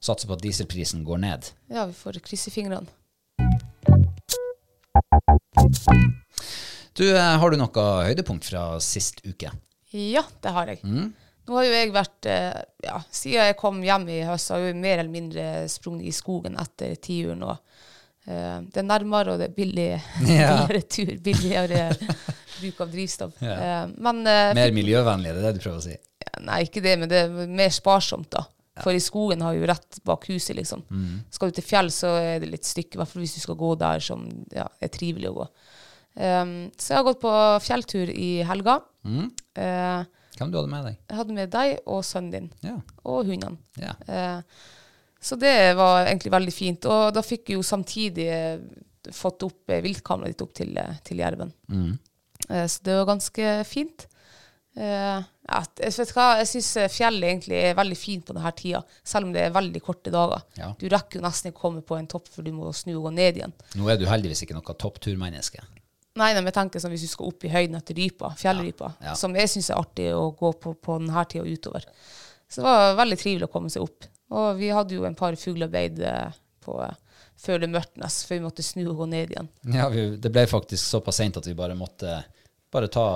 [SPEAKER 1] Satse på at dieselprisen går ned.
[SPEAKER 2] ja, vi får krysse fingrene.
[SPEAKER 1] Du, eh, har du noe høydepunkt fra sist uke?
[SPEAKER 2] Ja, det har jeg.
[SPEAKER 1] Mm.
[SPEAKER 2] Nå har jo jeg vært eh, ja, Siden jeg kom hjem i høst, har jeg jo mer eller mindre sprunget i skogen etter tiuren. Og eh, det er nærmere, og det er billig,
[SPEAKER 1] Ja.
[SPEAKER 2] (laughs) billigere tur,
[SPEAKER 1] (laughs)
[SPEAKER 2] billigere bruk av drivstoff.
[SPEAKER 1] Ja.
[SPEAKER 2] Eh, men eh,
[SPEAKER 1] Mer
[SPEAKER 2] fikk-
[SPEAKER 1] miljøvennlig, det er det du prøver å si?
[SPEAKER 2] Nei, ikke det, men det er mer sparsomt, da. For i skogen har vi jo rett bak huset, liksom.
[SPEAKER 1] Mm.
[SPEAKER 2] Skal du til fjell, så er det litt stykke, i hvert fall hvis du skal gå der som ja, er trivelig å gå. Eh, så jeg har gått på fjelltur i helga.
[SPEAKER 1] Mm.
[SPEAKER 2] Eh,
[SPEAKER 1] Hvem du hadde med deg?
[SPEAKER 2] jeg hadde med deg og sønnen din,
[SPEAKER 1] Ja.
[SPEAKER 2] og hundene.
[SPEAKER 1] ja.
[SPEAKER 2] Eh, så det var egentlig veldig fint. Og da fikk vi jo samtidig eh, fått opp eh, viltkameraet ditt opp til, eh, til jerven. Eh, så det var ganske fint. Eh, at, jeg vet hva, jeg syns fjellet egentlig er veldig fint på denne tida, selv om det er veldig korte dager.
[SPEAKER 1] Ja.
[SPEAKER 2] Du rekker jo nesten ikke å komme på en topp før du må snu og gå ned igjen.
[SPEAKER 1] Nå er du heldigvis ikke noe toppturmenneske.
[SPEAKER 2] Nei, nei, men jeg tenker sånn hvis du skal opp i høyden etter rypa, fjellrypa,
[SPEAKER 1] Ja, ja.
[SPEAKER 2] som jeg syns er artig å gå på på denne tida og utover. Så det var veldig trivelig å komme seg opp. Og vi hadde jo en par fuglearbeid eh, på eh, før det mørknes, før vi måtte snu og gå ned igjen.
[SPEAKER 1] Ja, vi, det ble faktisk såpass seint at vi bare måtte bare ta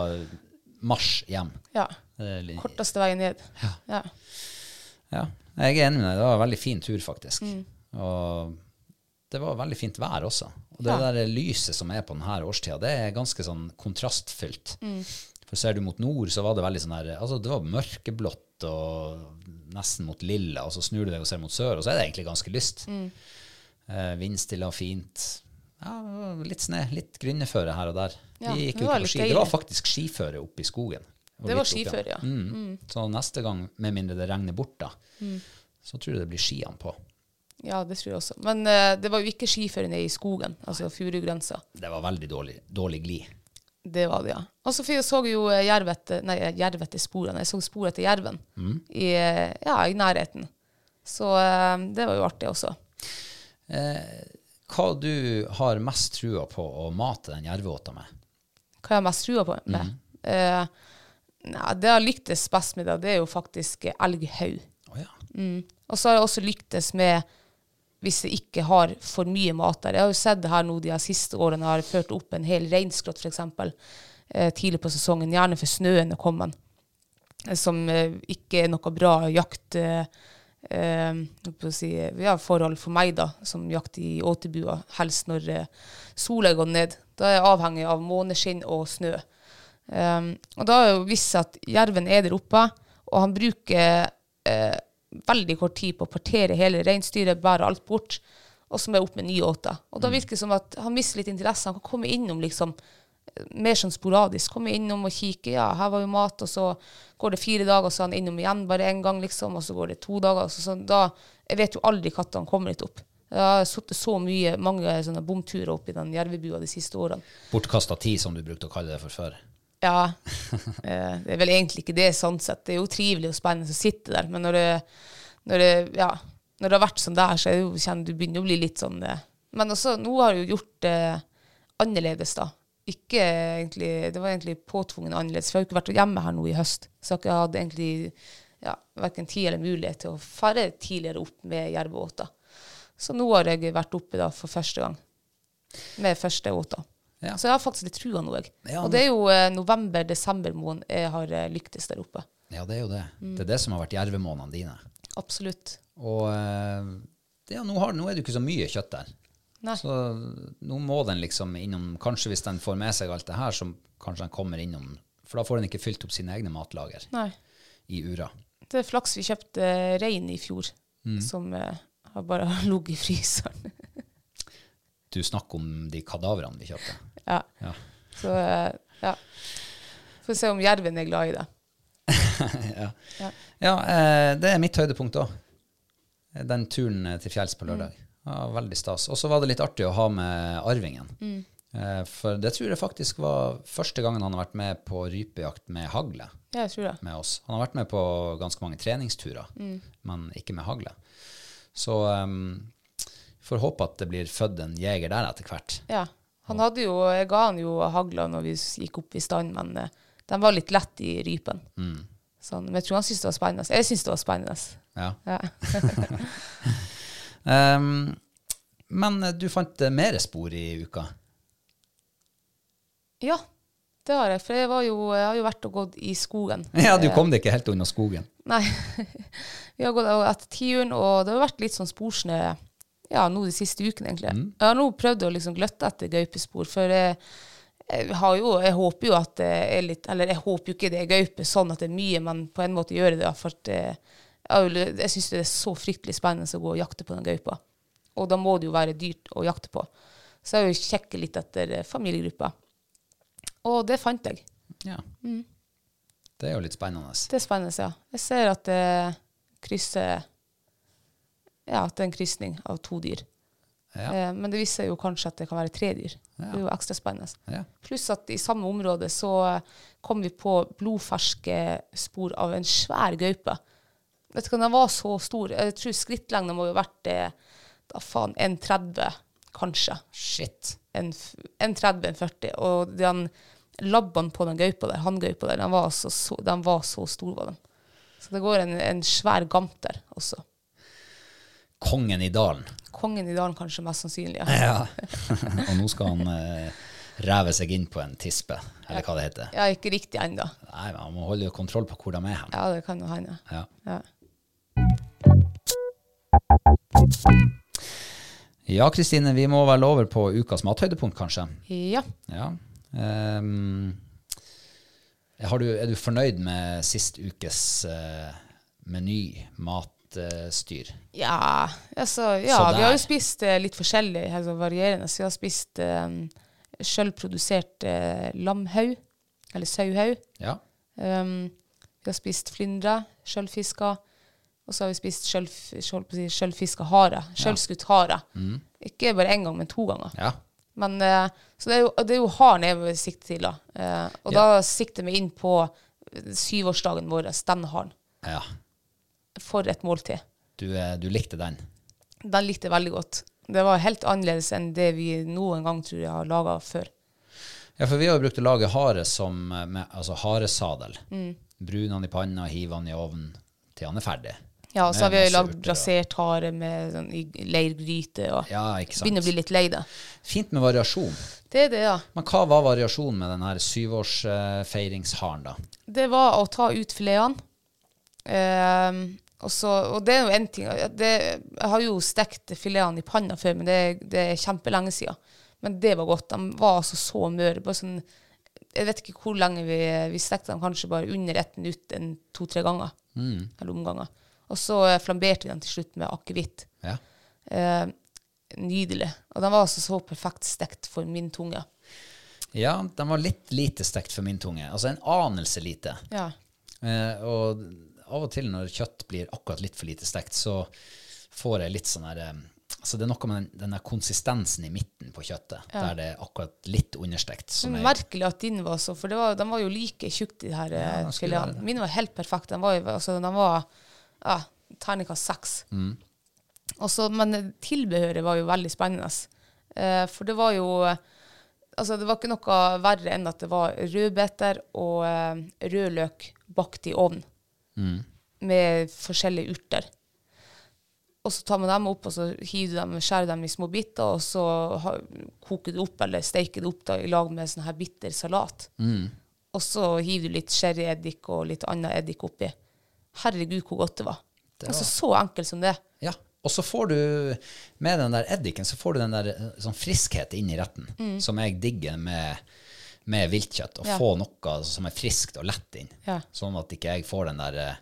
[SPEAKER 1] marsj hjem.
[SPEAKER 2] Ja.
[SPEAKER 1] Det er litt-
[SPEAKER 2] Korteste veien ned. Ja.
[SPEAKER 1] Ja, jeg er enig med deg. Det var en veldig fin tur, faktisk.
[SPEAKER 2] Mm.
[SPEAKER 1] Og det var veldig fint vær også. Og det
[SPEAKER 2] Ja.
[SPEAKER 1] der lyset som er på denne årstida, det er ganske sånn kontrastfylt.
[SPEAKER 2] Mm.
[SPEAKER 1] For ser du mot nord, så var det veldig sånn her Altså, det var mørkeblått og nesten mot lilla, og så snur du deg og ser mot sør, og så er det egentlig ganske lyst.
[SPEAKER 2] Mm.
[SPEAKER 1] Eh, Vindstille og fint. Ja, det var litt snø, litt gryneføre her og der.
[SPEAKER 2] Ja,
[SPEAKER 1] Vi gikk
[SPEAKER 2] det
[SPEAKER 1] jo
[SPEAKER 2] var
[SPEAKER 1] ikke på
[SPEAKER 2] litt
[SPEAKER 1] ski.
[SPEAKER 2] deilig.
[SPEAKER 1] Det var faktisk skiføre oppe i skogen. og
[SPEAKER 2] Det
[SPEAKER 1] litt
[SPEAKER 2] var
[SPEAKER 1] opp igjen.
[SPEAKER 2] skiføre, ja.
[SPEAKER 1] Mm. Så neste gang, med mindre det regner bort, da, så tror jeg det blir skiene på.
[SPEAKER 2] ja, det tror jeg også. Men eh, det var jo ikke skiføre ned i skogen, altså Furugrensa.
[SPEAKER 1] Det var veldig dårlig, dårlig gli.
[SPEAKER 2] Det var det, ja. Og så fikk- så jeg jo eh, jerv etter Nei, jerv etter sporene. Jeg så spor etter jerven i, eh, ja, i nærheten. Så eh, det var jo artig også.
[SPEAKER 1] Hva du har mest trua på å mate den jerveåta med?
[SPEAKER 2] Hva jeg har mest trua på med? Eh, nei, det jeg har lyktes best med, da, det er jo faktisk eh, elghaug.
[SPEAKER 1] Å ja.
[SPEAKER 2] Og så har jeg også lyktes med hvis jeg ikke har for mye mat der. Jeg har jo sett det her nå de her siste årene. Jeg har ført opp en hel reinskrott, f.eks. Eh, tidlig på sesongen, gjerne før snøen er kommet. Eh, Som eh, ikke er noe bra jakt... Eh, eh, holdt på å si, eh, ja, forhold for meg, da, som jakt i åtebua, helst når eh, sola går ned. Da er jeg avhengig av måneskinn og snø. Um, og da har jeg jo visst at jerven er der oppe, og han bruker eh, veldig kort tid på å partere hele reinsdyret, bære alt bort, og så må jeg opp med nye åter. Og da virker det som at han mister litt interesse. Han kan komme innom liksom eh, mer sånn sporadisk. Komme innom og kikke. Ja, her var jo mat, og så går det fire dager, og så er han innom igjen bare én gang, liksom. Og så går det to dager. og Så, sånn, da, jeg vet jo aldri når han kommer litt opp. Jeg har sittet så mye, mange sånne bomturer opp i den jervebua de siste årene.
[SPEAKER 1] Bortkasta tid, som du brukte å kalle det for før.
[SPEAKER 2] Ja. (laughs) eh, Det er vel egentlig ikke det sånn sett. Det er jo trivelig og spennende å sitte der, men når det, når det, ja, når det har vært sånn der, så er det jo, kjenner du begynner å bli litt sånn eh. Men også, nå har jeg jo gjort det annerledes, da. Ikke egentlig, Det var egentlig påtvungen annerledes, for jeg har jo ikke vært hjemme her nå i høst. Så jeg har ikke hatt egentlig ja, verken tid eller mulighet til å fare tidligere opp med jerveåta. Så nå har jeg vært oppe da for første gang med første åta.
[SPEAKER 1] Ja.
[SPEAKER 2] Så jeg har faktisk litt trua nå, jeg.
[SPEAKER 1] Ja,
[SPEAKER 2] og det er jo eh, november-desember måned jeg har eh, lyktes der oppe.
[SPEAKER 1] Ja, det er jo det. Det er det som har vært jervemånedene dine.
[SPEAKER 2] Absolutt.
[SPEAKER 1] Og eh, det, ja, nå, har, nå er det jo ikke så mye kjøtt der.
[SPEAKER 2] Nei.
[SPEAKER 1] Så nå må den liksom innom Kanskje hvis den får med seg alt det her, så kanskje den kommer innom For da får den ikke fylt opp sine egne matlager
[SPEAKER 2] Nei.
[SPEAKER 1] i ura.
[SPEAKER 2] Det er flaks vi kjøpte eh, rein i fjor,
[SPEAKER 1] Mm.
[SPEAKER 2] som eh, har bare (laughs) ligget i fryseren.
[SPEAKER 1] Du snakker om de kadavrene vi kjøpte.
[SPEAKER 2] ja.
[SPEAKER 1] Ja.
[SPEAKER 2] Så eh, ja. Får se om jerven er glad i det.
[SPEAKER 1] ja.
[SPEAKER 2] Ja.
[SPEAKER 1] Ja, eh, det er mitt høydepunkt òg. Den turen eh, til fjells på lørdag. Ja, veldig stas. Og så var det litt artig å ha med arvingen. Eh, For det tror jeg faktisk var første gangen han har vært med på rypejakt med hagle
[SPEAKER 2] Ja, jeg tror det.
[SPEAKER 1] med oss. Han har vært med på ganske mange treningsturer, men ikke med hagle. Så um, får håpe at det blir født en jeger der etter hvert.
[SPEAKER 2] Ja. Han hadde jo, jeg ga han jo hagla når vi s- gikk opp i stand, men eh, den var litt lett i rypen.
[SPEAKER 1] Mm.
[SPEAKER 2] Sånn. Men jeg tror han syntes det var spennende. Jeg syntes det var spennende.
[SPEAKER 1] Ja.
[SPEAKER 2] Ja.
[SPEAKER 1] Um, men eh, du fant eh, mer spor i uka.
[SPEAKER 2] Ja, det har jeg. For jeg, var jo, jeg har jo vært og gått i skogen.
[SPEAKER 1] Ja, du kom deg ikke helt unna skogen.
[SPEAKER 2] Nei. (laughs) Vi har gått etter tiuren, og det har vært litt sånn sporsnø ja, nå de siste ukene, egentlig. Jeg har nå prøvd å liksom gløtte etter gaupespor, for jeg, jeg, har jo, jeg håper jo at det er litt Eller jeg håper jo ikke det er gaupe sånn at det er mye, men på en måte gjør jeg det. da, For at eh, jeg, har jo- jeg syns det er så fryktelig spennende å gå og jakte på den gaupa. Og da må det jo være dyrt å jakte på. Så jeg har jo sjekket litt etter eh, familiegruppa. Og det fant jeg.
[SPEAKER 1] Ja. Det er jo litt spennende.
[SPEAKER 2] Det er spennende, ja. Jeg ser at det krysser Ja, at det er en krysning av to dyr.
[SPEAKER 1] Ja.
[SPEAKER 2] Eh, men det viser jo kanskje at det kan være tre dyr. Det er jo ekstra spennende.
[SPEAKER 1] Ja.
[SPEAKER 2] Pluss at i samme område så kom vi på blodferske spor av en svær gaupe. Vet du hva, den var så stor. Jeg tror skrittlengden må jo ha vært eh, da faen 1,30 kanskje.
[SPEAKER 1] Shit.
[SPEAKER 2] En f- 1,30, 1,40. Og den labben på den gaupa der, hanngaupa der, den var, altså så, den var så stor, var den. Så det går en, en svær gamp der også.
[SPEAKER 1] Kongen i dalen.
[SPEAKER 2] Kongen i dalen kanskje mest sannsynlig. Ja.
[SPEAKER 1] Ja. (laughs) og nå skal han eh, ræve seg inn på en tispe, eller hva det heter.
[SPEAKER 2] Jeg er ikke riktig ennå.
[SPEAKER 1] Nei, men Han må holde jo kontroll på hvor de er hen.
[SPEAKER 2] Ja, det kan jo hende.
[SPEAKER 1] Ja.
[SPEAKER 2] Ja.
[SPEAKER 1] Ja, Kristine, vi må vel over på ukas mathøydepunkt, kanskje.
[SPEAKER 2] ja.
[SPEAKER 1] Ja. Ehm, har du, er du fornøyd med sist ukes eh, meny, matstyr?
[SPEAKER 2] Ja, altså, ja
[SPEAKER 1] Så
[SPEAKER 2] vi har
[SPEAKER 1] der.
[SPEAKER 2] jo spist eh, litt forskjellig, altså varierende. Så vi har spist eh, sjølprodusert eh, lamhaug, eller sauhaug.
[SPEAKER 1] ja.
[SPEAKER 2] Um, vi har spist flyndre, sjølfiska. Og så har vi spist sjølf- sjøl- holdt på å si, sjølfiska hare. Sjølskutt hare.
[SPEAKER 1] Mm.
[SPEAKER 2] Ikke bare én gang, men to ganger.
[SPEAKER 1] ja.
[SPEAKER 2] Men, eh, så det er jo, det er jo haren jeg vil sikte til, da. Eh, og da sikter vi inn på eh, syvårsdagen vår, den haren.
[SPEAKER 1] Ja.
[SPEAKER 2] For et måltid.
[SPEAKER 1] Du, eh, du likte den?
[SPEAKER 2] Den likte jeg veldig godt. Det var helt annerledes enn det vi noen gang tror jeg har laga før.
[SPEAKER 1] Ja, for vi har jo brukt å lage hare som eh, med, altså haresadel.
[SPEAKER 2] Mm.
[SPEAKER 1] Brun han i panna, hiv han i ovnen til han er ferdig.
[SPEAKER 2] Ja, og så har
[SPEAKER 1] Med
[SPEAKER 2] vi
[SPEAKER 1] masse
[SPEAKER 2] lagd
[SPEAKER 1] urter og-
[SPEAKER 2] brasert hare med sånn, i leirgryte og
[SPEAKER 1] Ja, ikke sant.
[SPEAKER 2] Begynner å bli litt lei det.
[SPEAKER 1] Fint med variasjon.
[SPEAKER 2] Det er det, ja.
[SPEAKER 1] Men hva var variasjonen med den her syvårsferingsharen, da?
[SPEAKER 2] Det var å ta ut filetene. Ehm, og, så, og det er jo én ting det, Jeg har jo stekt filetene i panna før, men det, det er kjempelenge siden. Men det var godt. De var altså så møre. Bare sånn, jeg vet ikke hvor lenge vi, vi stekte dem, kanskje bare under ett minutt en to-tre ganger. Eller omganger. Og så eh, flamberte vi dem til slutt med akevitt.
[SPEAKER 1] Ja.
[SPEAKER 2] Eh, nydelig. Og den var altså så perfekt stekt for min tunge.
[SPEAKER 1] ja, den var litt lite stekt for min tunge. Altså en anelse lite.
[SPEAKER 2] Ja.
[SPEAKER 1] Eh, og av og til når kjøtt blir akkurat litt for lite stekt, så får jeg litt sånn her eh, Altså det er noe med den, den der konsistensen i midten på kjøttet, der det er akkurat litt understekt. Som
[SPEAKER 2] sånn
[SPEAKER 1] er,
[SPEAKER 2] Merkelig at din var så, for det var, den var jo like tjukk, de her eh,
[SPEAKER 1] den skulle være
[SPEAKER 2] filetene.
[SPEAKER 1] det.
[SPEAKER 2] Min var helt perfekt. Den var, jo- altså, den var ja, terningkast seks. Og så- Men tilbehøret var jo veldig spennende. Eh, for det var jo Altså, det var ikke noe verre enn at det var rødbeter og eh, rødløk bakt i ovn Mm. med forskjellige urter. Og så tar man dem opp, og så hiver du dem, skjærer dem i små biter, og så ha, koker du opp eller steiker det opp da, i lag med sånn her bitter salat. Og så hiver du litt sherryeddik og litt annen eddik oppi. Herregud, hvor godt det var. Altså så enkelt som det.
[SPEAKER 1] Ja, og så får du med den der eddiken, så får du den der eh, sånn friskhet inn i retten, som jeg digger med, med viltkjøtt. Å
[SPEAKER 2] Mm. Ja.
[SPEAKER 1] få noe som er friskt og lett inn,
[SPEAKER 2] Ja.
[SPEAKER 1] sånn at ikke jeg får den der eh,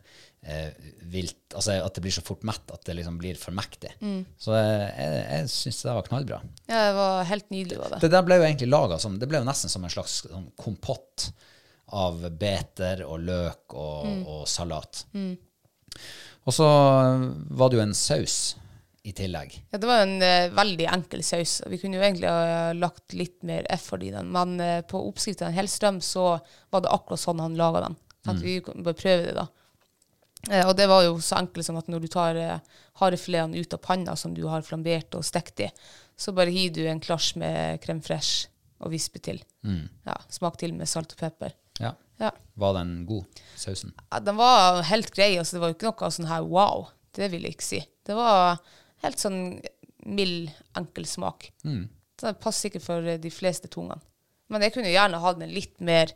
[SPEAKER 1] eh, vilt, altså at det blir så fort mett at det liksom blir for mektig.
[SPEAKER 2] Mm.
[SPEAKER 1] Så eh, jeg, jeg syns det var knallbra.
[SPEAKER 2] Ja, det var helt nydelig, var det.
[SPEAKER 1] Det der ble jo egentlig laget som Det ble jo nesten som en slags sånn kompott av beter og løk og, og salat. Og så var det jo en saus i tillegg.
[SPEAKER 2] Ja, det var jo en eh, veldig enkel saus. Vi kunne jo egentlig ha eh, lagt litt mer effort i den, men eh, på oppskriften av Hellstrøm så var det akkurat sånn han laga den. Tenkte vi kunne bare prøve det, da. Eh, og det var jo så enkelt som at når du tar eh, harefiletene ut av panna som du har flambert og stekt i, så bare hiver du en klasj med crème fraîche og visper til. Ja, Smak til med salt og pepper.
[SPEAKER 1] Ja.
[SPEAKER 2] Ja.
[SPEAKER 1] Var den god, sausen?
[SPEAKER 2] Ja, den var helt grei. Altså, det var jo ikke noe sånn her wow. Det vil jeg ikke si. Det var helt sånn mild, enkel smak. Den passer sikkert for eh, de fleste tungene. Men jeg kunne gjerne hatt en litt mer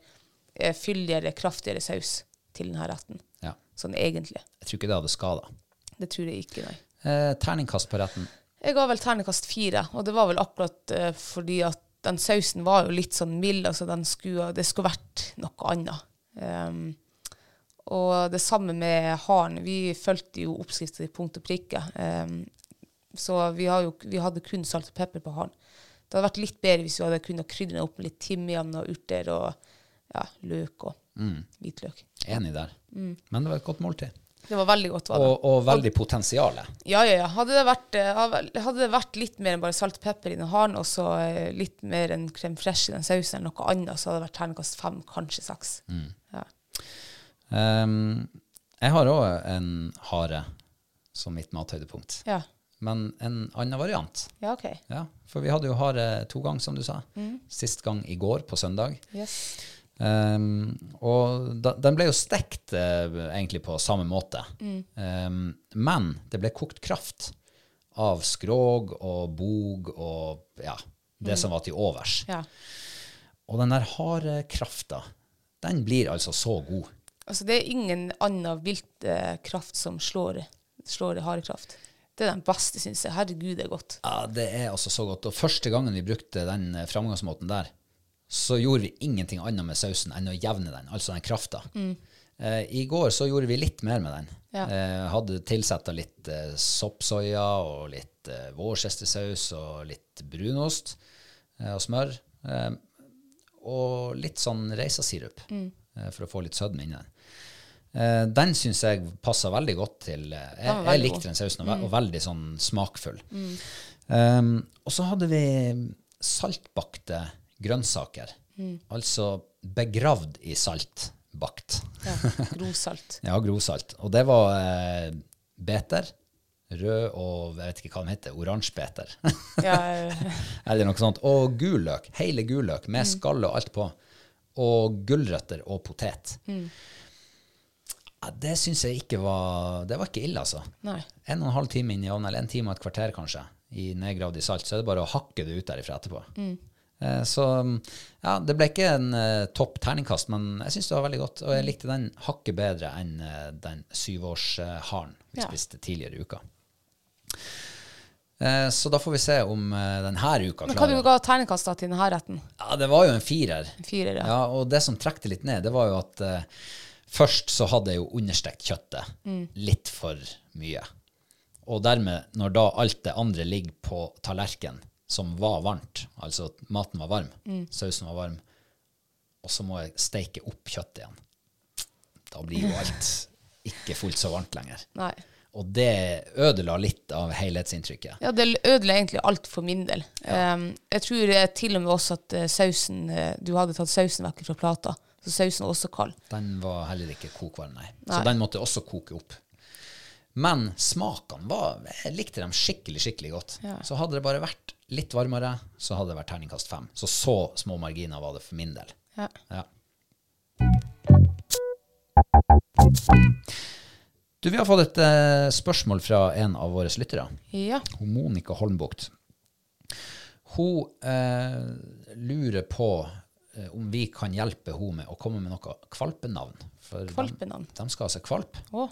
[SPEAKER 2] eh, fyldigere, kraftigere saus til denne retten.
[SPEAKER 1] Ja.
[SPEAKER 2] Sånn egentlig.
[SPEAKER 1] Jeg tror ikke det hadde skada.
[SPEAKER 2] Det tror jeg ikke, nei.
[SPEAKER 1] Eh, terningkast på retten.
[SPEAKER 2] Jeg ga vel ternekast fire, og det var vel akkurat eh, fordi at den sausen var jo litt sånn mild, altså den skulle, det skulle vært noe annet. Ehm, og det samme med haren. Vi fulgte jo oppskriften til punkt og prikke. Ehm, så vi, har jo, vi hadde kun salt og pepper på haren. Det hadde vært litt bedre hvis vi hadde kunnet krydre den opp med litt timian og urter og ja, løk og hvitløk.
[SPEAKER 1] Enig der. Men det var et godt måltid.
[SPEAKER 2] Det var veldig godt, var det.
[SPEAKER 1] Og, og veldig potensial.
[SPEAKER 2] Ja, ja, ja. Hadde det vært, eh, hadde det vært litt mer enn bare salt og pepper i den haren, og så eh, litt mer enn crème fraiche i den sausen, eller noe annet, så hadde det vært terningkast fem, kanskje seks. Ja.
[SPEAKER 1] Ehm, jeg har òg en hare som mitt mathøydepunkt,
[SPEAKER 2] ja.
[SPEAKER 1] men en annen variant.
[SPEAKER 2] Ja, OK.
[SPEAKER 1] Ja, For vi hadde jo hare to ganger, som du sa. Sist gang i går, på søndag.
[SPEAKER 2] Yes.
[SPEAKER 1] Ehm, og da, den ble jo stekt eh, egentlig på samme måte. Ehm, men det ble kokt kraft av skrog og bog og ja, det som var til overs.
[SPEAKER 2] Ja.
[SPEAKER 1] Og den der harde krafta, den blir altså så god.
[SPEAKER 2] Altså, det er ingen annen vilt eh, kraft som slår, slår harekraft. Det er den beste, syns jeg. Herregud, det er godt.
[SPEAKER 1] Ja, det er altså så godt. Og første gangen vi brukte den eh, framgangsmåten der, så gjorde vi ingenting annet med sausen enn å jevne den, altså den krafta. Eh, I går så gjorde vi litt mer med den.
[SPEAKER 2] Ja.
[SPEAKER 1] Eh, hadde tilsetta litt eh, soppsoya og litt eh, worcestersaus og litt brunost eh, og smør. Eh, og litt sånn reisasirup
[SPEAKER 2] Mm.
[SPEAKER 1] eh, for å få litt sødme inni den. Eh, den syns jeg passer veldig godt til eh, Jeg,
[SPEAKER 2] Den var
[SPEAKER 1] jeg
[SPEAKER 2] veldig god. Mm.
[SPEAKER 1] likte den sausen, og, ve og veldig sånn smakfull. Um, og så hadde vi saltbakte grønnsaker.
[SPEAKER 2] Mm.
[SPEAKER 1] Altså begravd i saltbakt.
[SPEAKER 2] Ja. Rosalt.
[SPEAKER 1] Ja, grovsalt. Og det var eh, beter. Rød og jeg vet ikke hva de heter. Oransjebeter. (laughs)
[SPEAKER 2] Ja, eh, (laughs)
[SPEAKER 1] Eller noe sånt. Og gul løk. Hele gul løk med skall og alt på. Og gulrøtter og potet. Ja, det syns jeg ikke var Det var ikke ille, altså.
[SPEAKER 2] Nei.
[SPEAKER 1] En og en halv time inn i ovnen, eller en time og et kvarter kanskje, i nedgravd i salt, så er det bare å hakke det ut derifra etterpå.
[SPEAKER 2] Mm.
[SPEAKER 1] Eh, Så ja, det ble ikke en eh, topp terningkast, men jeg syns det var veldig godt. Og jeg likte den hakket bedre enn eh, den syvårsharen vi
[SPEAKER 2] Ja.
[SPEAKER 1] spiste tidligere i uka. Eh, Så da får vi se om eh, denne uka
[SPEAKER 2] Men hva du
[SPEAKER 1] klarer
[SPEAKER 2] ga terningkast da til denne retten?
[SPEAKER 1] Ja, det var jo en firer.
[SPEAKER 2] En Firer, ja.
[SPEAKER 1] Ja, og det som trekte litt ned, det var jo at eh, først så hadde jeg jo understekt kjøttet litt for mye. Og dermed, når da alt det andre ligger på tallerken, som var varmt, altså at maten var varm, sausen var varm, og så må jeg steike opp kjøttet igjen, da blir jo alt ikke fullt så varmt lenger.
[SPEAKER 2] Nei.
[SPEAKER 1] Og det ødela litt av helhetsinntrykket.
[SPEAKER 2] Ja, det ødela egentlig alt for min del. Ehm, jeg tror eh, til og med også at eh, sausen eh, Du hadde tatt sausen vekk fra plata, så sausen var også kald.
[SPEAKER 1] Den var heller ikke kokvarm, nei. Så
[SPEAKER 2] Nei.
[SPEAKER 1] den måtte også koke opp. Men smakene var Jeg likte dem skikkelig, skikkelig godt. Så hadde det bare vært litt varmere, så hadde det vært terningkast fem. Så så små marginer var det for min del.
[SPEAKER 2] Ja.
[SPEAKER 1] Ja. Du, vi har fått et eh, spørsmål fra en av våre lyttere.
[SPEAKER 2] ja.
[SPEAKER 1] Hun Monica Holmbukt. Hun eh, lurer på eh, om vi kan hjelpe henne med å komme med noe kvalpenavn. For de-
[SPEAKER 2] Kvalpenavn?
[SPEAKER 1] De, skal altså kvalp.
[SPEAKER 2] Å,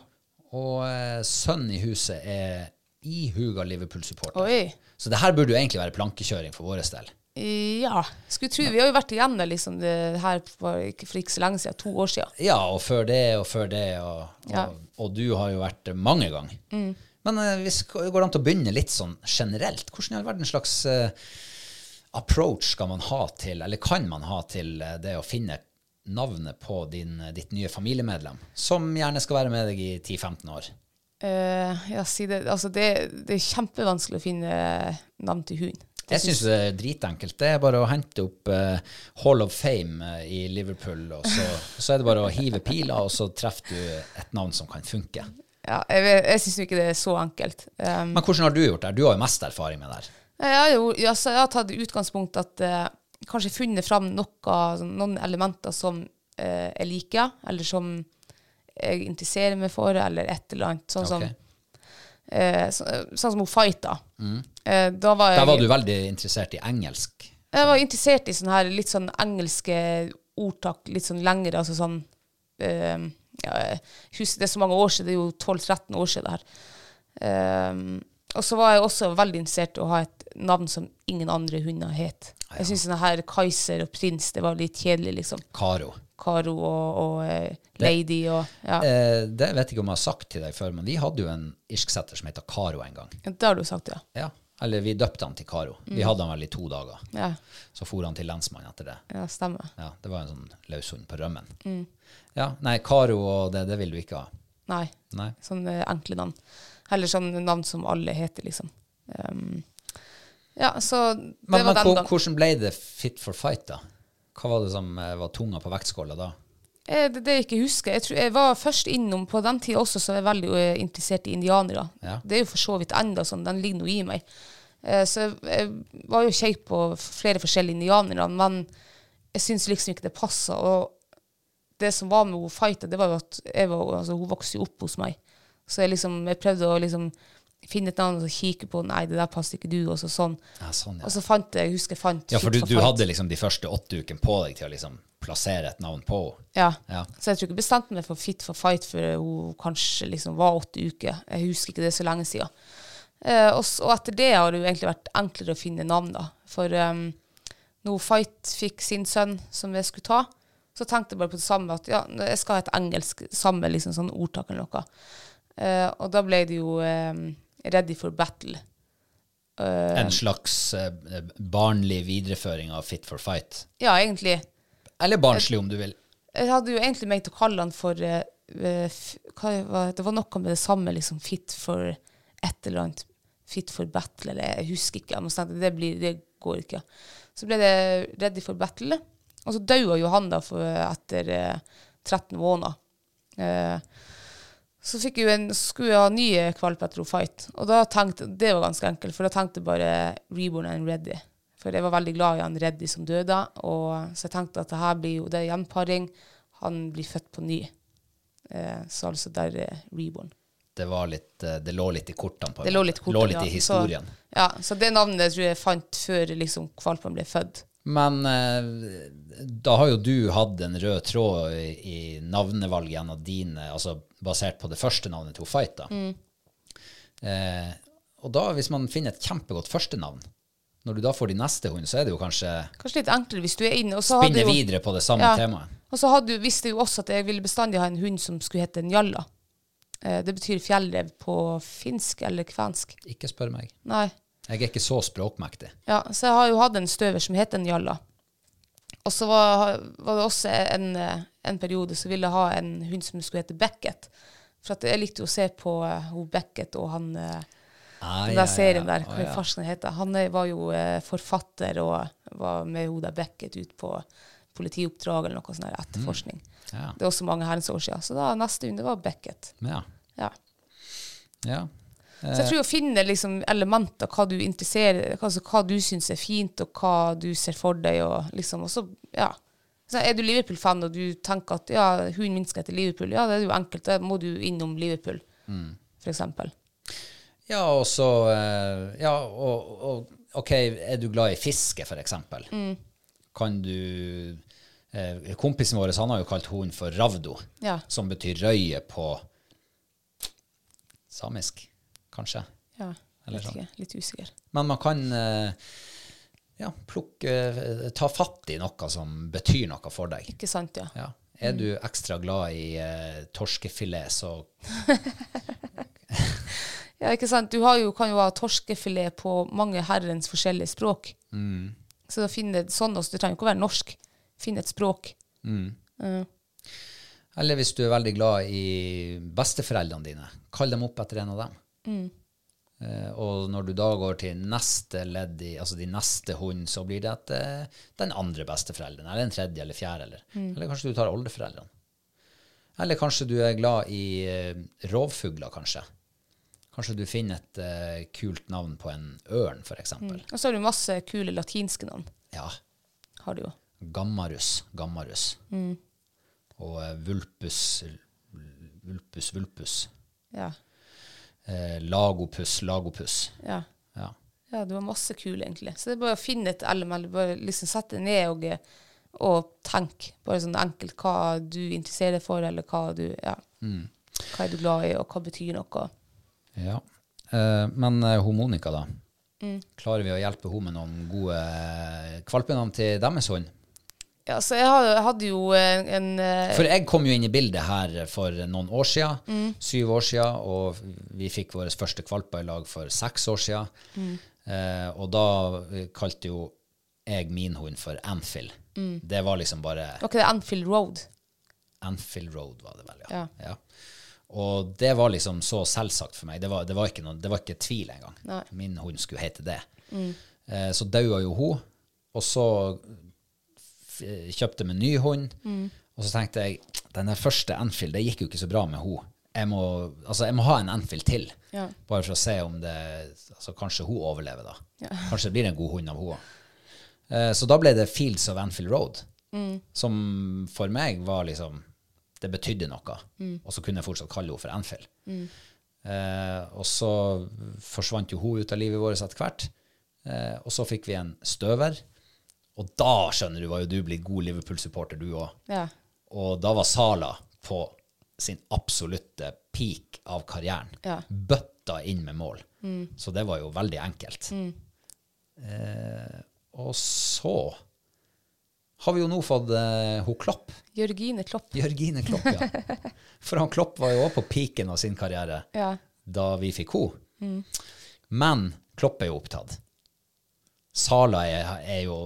[SPEAKER 1] Og eh, sønnen i huset er ihuga Liverpool-supporter.
[SPEAKER 2] oi.
[SPEAKER 1] Så det her burde jo egentlig være plankekjøring for vår del.
[SPEAKER 2] Ja. Skulle tro Vi har jo vært igjen det, liksom, det her for ikke, for ikke så lenge siden. To år siden.
[SPEAKER 1] Ja, og før det og før det, og, og,
[SPEAKER 2] Ja. Mm.
[SPEAKER 1] og du har jo vært det mange ganger. Men eh, hvis går det an til å begynne litt sånn generelt? Hvordan i all verden slags eh, approach skal man ha til, eller kan man ha til eh, det å finne navnet på din, eh, ditt nye familiemedlem, som gjerne skal være med deg i 10-15 år?
[SPEAKER 2] Eh, ja, si det. Altså, det, det er kjempevanskelig å finne eh, navn til hund. Det
[SPEAKER 1] Jeg syns det er dritenkelt. Det er bare å hente opp eh, Hall of Fame eh, i Liverpool, og så, så er det bare å hive pila, og så treffer du et navn som kan funke.
[SPEAKER 2] Ja, jeg vet- jeg syns ikke det er så enkelt. Um,
[SPEAKER 1] Men hvordan har du gjort det? her? Du har jo mest erfaring med det. her.
[SPEAKER 2] jeg, har jo, ja, så jeg har tatt utgangspunkt at eh, kanskje funnet fram noe, sånn, noen elementer som eh, jeg liker, eller som jeg interesserer meg for, eller et eller annet. Sånn,
[SPEAKER 1] Ok.
[SPEAKER 2] som, eh, så, sånn som hun fighta. Eh, da var jeg,
[SPEAKER 1] Der var du veldig interessert i engelsk.
[SPEAKER 2] jeg var interessert i sånne her litt sånn engelske ordtak, litt sånn lengre, altså sånn eh, ja, jeg husker Det er så mange år siden, det er jo 12-13 år siden det her. Eh, og så var jeg også veldig interessert i å ha et navn som ingen andre hunder het. Jeg syns sånne her Kaiser og Prins, det var litt kjedelig, liksom.
[SPEAKER 1] Karo.
[SPEAKER 2] Karo og, og eh, Lady og Ja,
[SPEAKER 1] Eh, det vet jeg ikke om jeg har sagt til deg før, men vi hadde jo en irsksetter som heter Karo en gang.
[SPEAKER 2] det har du sagt, ja.
[SPEAKER 1] Ja. Eller vi døpte han til Karo. Vi hadde han vel i to dager.
[SPEAKER 2] Ja,
[SPEAKER 1] Så for han til lensmannen etter det.
[SPEAKER 2] ja stemmer.
[SPEAKER 1] Mm. Ja, det var en sånn løshund på rømmen. Ja, nei, Karo og det, det vil du ikke ha.
[SPEAKER 2] Nei.
[SPEAKER 1] Nei.
[SPEAKER 2] Sånn eh, enkle navn. Heller sånn navn som alle heter, liksom. Um, ja, så det
[SPEAKER 1] Men,
[SPEAKER 2] var
[SPEAKER 1] men
[SPEAKER 2] den
[SPEAKER 1] hvor-
[SPEAKER 2] gangen.
[SPEAKER 1] hvordan ble det fit for fight, da? Hva var det som eh, var tunga på vektskåla da?
[SPEAKER 2] Eh, Det, det jeg ikke husker. Jeg, tror, jeg var først innom på den tida også, så er jeg veldig eh, interessert i indianere.
[SPEAKER 1] Ja.
[SPEAKER 2] Det er jo for så vidt enda sånn, den ligger nå i meg. Eh, så jeg, jeg var jo kjekk på flere forskjellige indianere, men jeg syns liksom ikke det passa. Og det som var med hun fighta, det var jo at jeg var, altså, hun vokste jo opp hos meg. Så jeg liksom, jeg prøvde å liksom finne et navn og kikke på Nei, det der passer ikke du, og så sånn.
[SPEAKER 1] Ja, sånn, ja.
[SPEAKER 2] Og så fant jeg, jeg husker jeg fant
[SPEAKER 1] ja, for
[SPEAKER 2] Fit
[SPEAKER 1] du,
[SPEAKER 2] for
[SPEAKER 1] du
[SPEAKER 2] Fight.
[SPEAKER 1] hadde liksom de første åtte ukene på deg til å liksom plassere et navn på henne.
[SPEAKER 2] Ja.
[SPEAKER 1] Ja.
[SPEAKER 2] Så jeg tror ikke jeg bestemte meg for fit for fight før hun kanskje liksom var åtte uker. Jeg husker ikke det er så lenge siden. Eh, og, s- og etter det har det jo egentlig vært enklere å finne navn, da. For um, når Fight fikk sin sønn, som jeg skulle ta, så tenkte jeg bare på det samme, at ja, jeg skal ha et engelsk samme liksom, sånn ordtak eller noe. Eh, og da ble det jo em, Ready for battle.
[SPEAKER 1] En slags eh, barnlig videreføring av Fit for fight.
[SPEAKER 2] Ja, egentlig.
[SPEAKER 1] Eller barnslig, om du vil.
[SPEAKER 2] Jeg hadde jo egentlig ment å kalle han for eh, eh, f- hva, var- Det var noe med det samme, liksom fit for et eller annet. Fit for battle, eller jeg husker ikke. Jeg må snakke, det, blir, det går ikke. Så ble det Ready for battle. Og så daua jo han da for, etter eh, 13 måneder. Eh, så fikk jeg jo en, skulle jeg ha ny kvalp etter hun fight. Og da tenkte, det var ganske enkelt, for da tenkte jeg bare reborn and ready. For jeg var veldig glad i han Reddy som døde, og så jeg tenkte at det her blir jo, det er gjenparing, han blir født på ny. Eh, så altså der er reborn.
[SPEAKER 1] Det, var litt, eh, det lå litt i kortene. på en
[SPEAKER 2] Det lå
[SPEAKER 1] måte.
[SPEAKER 2] litt kort.
[SPEAKER 1] lå litt i historien.
[SPEAKER 2] Så, ja, så det navnet tror jeg jeg fant før liksom kvalpen ble født.
[SPEAKER 1] Men eh, da har jo du hatt en rød tråd i, i navnevalg gjennom dine, altså basert på det første navnet til Fight. da.
[SPEAKER 2] Mm.
[SPEAKER 1] Eh, og da, hvis man finner et kjempegodt førstenavn, når du da får de neste hund, så er det jo kanskje
[SPEAKER 2] Kanskje litt enklere hvis du er inne. og så hadde
[SPEAKER 1] spinne
[SPEAKER 2] jeg jo-
[SPEAKER 1] videre på det samme
[SPEAKER 2] Ja.
[SPEAKER 1] temaet.
[SPEAKER 2] Og så hadde, jo- visste jeg jo også at jeg ville bestandig ha en hund som skulle hete Njalla. Eh, det betyr fjellrev på finsk eller kvensk.
[SPEAKER 1] Ikke spør meg.
[SPEAKER 2] Nei.
[SPEAKER 1] Jeg er ikke så språkmektig.
[SPEAKER 2] Ja, så jeg har jo hatt en støver som heter Njalla. Og så var, var det også en, eh, en periode så ville jeg ha en hund som skulle hete Beckett. For at jeg likte jo å se på eh, ho Beckett og han eh,
[SPEAKER 1] Ah,
[SPEAKER 2] den der serien der, hva ja. farsen heter. Han eh, var jo eh, forfatter og var med Hoda Beckett ut på politioppdrag eller noe sånn der etterforskning.
[SPEAKER 1] Ja.
[SPEAKER 2] Det er også mange herrens år siden. Så da neste runde var Beckett.
[SPEAKER 1] Ja.
[SPEAKER 2] Ja.
[SPEAKER 1] ja.
[SPEAKER 2] Så
[SPEAKER 1] Eh.
[SPEAKER 2] jeg tror å finne liksom elementer, hva du interesserer, altså hva du syns er fint, og hva du ser for deg, og liksom og så, ja. Så er du Liverpool-fan og du tenker at ja, hunden min skal til Liverpool, ja, det er jo enkelt, da må du innom Liverpool,
[SPEAKER 1] Mm.
[SPEAKER 2] for eksempel.
[SPEAKER 1] Ja, og så eh, Ja, og, og OK, er du glad i fiske, for eksempel?
[SPEAKER 2] Mm.
[SPEAKER 1] Kan du eh, Kompisen vår han har jo kalt hunden for ravdo,
[SPEAKER 2] Ja.
[SPEAKER 1] som betyr røye på samisk, kanskje.
[SPEAKER 2] Ja,
[SPEAKER 1] Eller
[SPEAKER 2] vet
[SPEAKER 1] sånn.
[SPEAKER 2] ikke, litt usikker.
[SPEAKER 1] Men man kan eh, ja, plukke eh, Ta fatt i noe som betyr noe for deg.
[SPEAKER 2] Ikke sant, ja.
[SPEAKER 1] Ja. Er du ekstra glad i eh, torskefilet, så
[SPEAKER 2] Ja, ikke sant? Du har jo, kan jo ha torskefilet på mange herrens forskjellige språk.
[SPEAKER 1] Mm.
[SPEAKER 2] Så da finner et sånn også, du trenger ikke å være norsk. Finn et språk. Eh,
[SPEAKER 1] Eller hvis du er veldig glad i besteforeldrene dine, kall dem opp etter en av dem. Eh, og når du da går til neste ledd, i, altså de neste hund, så blir det at eh, den andre besteforelderen, eller den tredje eller fjerde, eller, eller kanskje du tar oldeforeldrene. Eller kanskje du er glad i eh, rovfugler, kanskje. Kanskje du finner et eh, kult navn på en ørn, for eksempel.
[SPEAKER 2] Og så har du masse kule latinske navn.
[SPEAKER 1] Ja,
[SPEAKER 2] Har du jo.
[SPEAKER 1] gammarus, gammarus. Og eh, vulpus, vulpus, vulpus.
[SPEAKER 2] Ja.
[SPEAKER 1] eh, lagopus, lagopus.
[SPEAKER 2] Ja.
[SPEAKER 1] Ja.
[SPEAKER 2] ja, du har masse kule, egentlig. Så det er bare å finne et element. Bare liksom sette deg ned og, eh, og tenk bare sånn enkelt hva du interesserer deg for, eller hva du Ja.
[SPEAKER 1] Mm.
[SPEAKER 2] Hva er du glad i, og hva betyr noe?
[SPEAKER 1] ja. Eh, men eh, hun Monica, da. Klarer vi å hjelpe henne med noen gode eh, kvalpenavn til deres hund?
[SPEAKER 2] Ja, så jeg har- jeg hadde jo en, en eh,
[SPEAKER 1] For jeg kom jo inn i bildet her for noen år siden, syv år siden, og vi fikk våre første kvalper i lag for seks år siden. Eh, og da eh, kalte jo jeg min hund for Anfield. Det var liksom bare
[SPEAKER 2] Var ikke det Anfield Road?
[SPEAKER 1] Anfield Road var det vel, ja.
[SPEAKER 2] Ja.
[SPEAKER 1] ja. Og det var liksom så selvsagt for meg. Det var, det var, ikke, noe, det var ikke tvil engang.
[SPEAKER 2] Nei. Mm.
[SPEAKER 1] Min hund skulle hete det. Eh, så daua jo hun, og så f- kjøpte jeg meg ny hund.
[SPEAKER 2] Mm.
[SPEAKER 1] Og så tenkte jeg den der første Enfield, det gikk jo ikke så bra med hun. Jeg må, altså, jeg må ha en Enfield til,
[SPEAKER 2] Ja.
[SPEAKER 1] bare for å se om det altså, Kanskje hun overlever, da. Kanskje det blir en god hund av hun òg. Eh, Så da ble det Fields of Anfield Road, som for meg var liksom Det betydde noe. Og så kunne jeg fortsatt kalle henne for Anfield. Eh, og så forsvant jo hun ut av livet vårt etter hvert. Eh, og så fikk vi en støver. Og da, skjønner du, var jo du blitt god Liverpool-supporter, du òg.
[SPEAKER 2] Ja.
[SPEAKER 1] Og da var Sala på sin absolutte peak av karrieren.
[SPEAKER 2] Ja.
[SPEAKER 1] Bøtta inn med mål.
[SPEAKER 2] Mm.
[SPEAKER 1] Så det var jo veldig enkelt. Eh, og så har vi jo nå fått eh, hun Klopp.
[SPEAKER 2] Jørgine Klopp.
[SPEAKER 1] Jørgine Klopp, ja.
[SPEAKER 2] (laughs)
[SPEAKER 1] For han Klopp var jo òg på peaken av sin karriere
[SPEAKER 2] Ja.
[SPEAKER 1] da vi fikk henne.
[SPEAKER 2] Mm.
[SPEAKER 1] Men Klopp er jo opptatt. Sala er, er jo,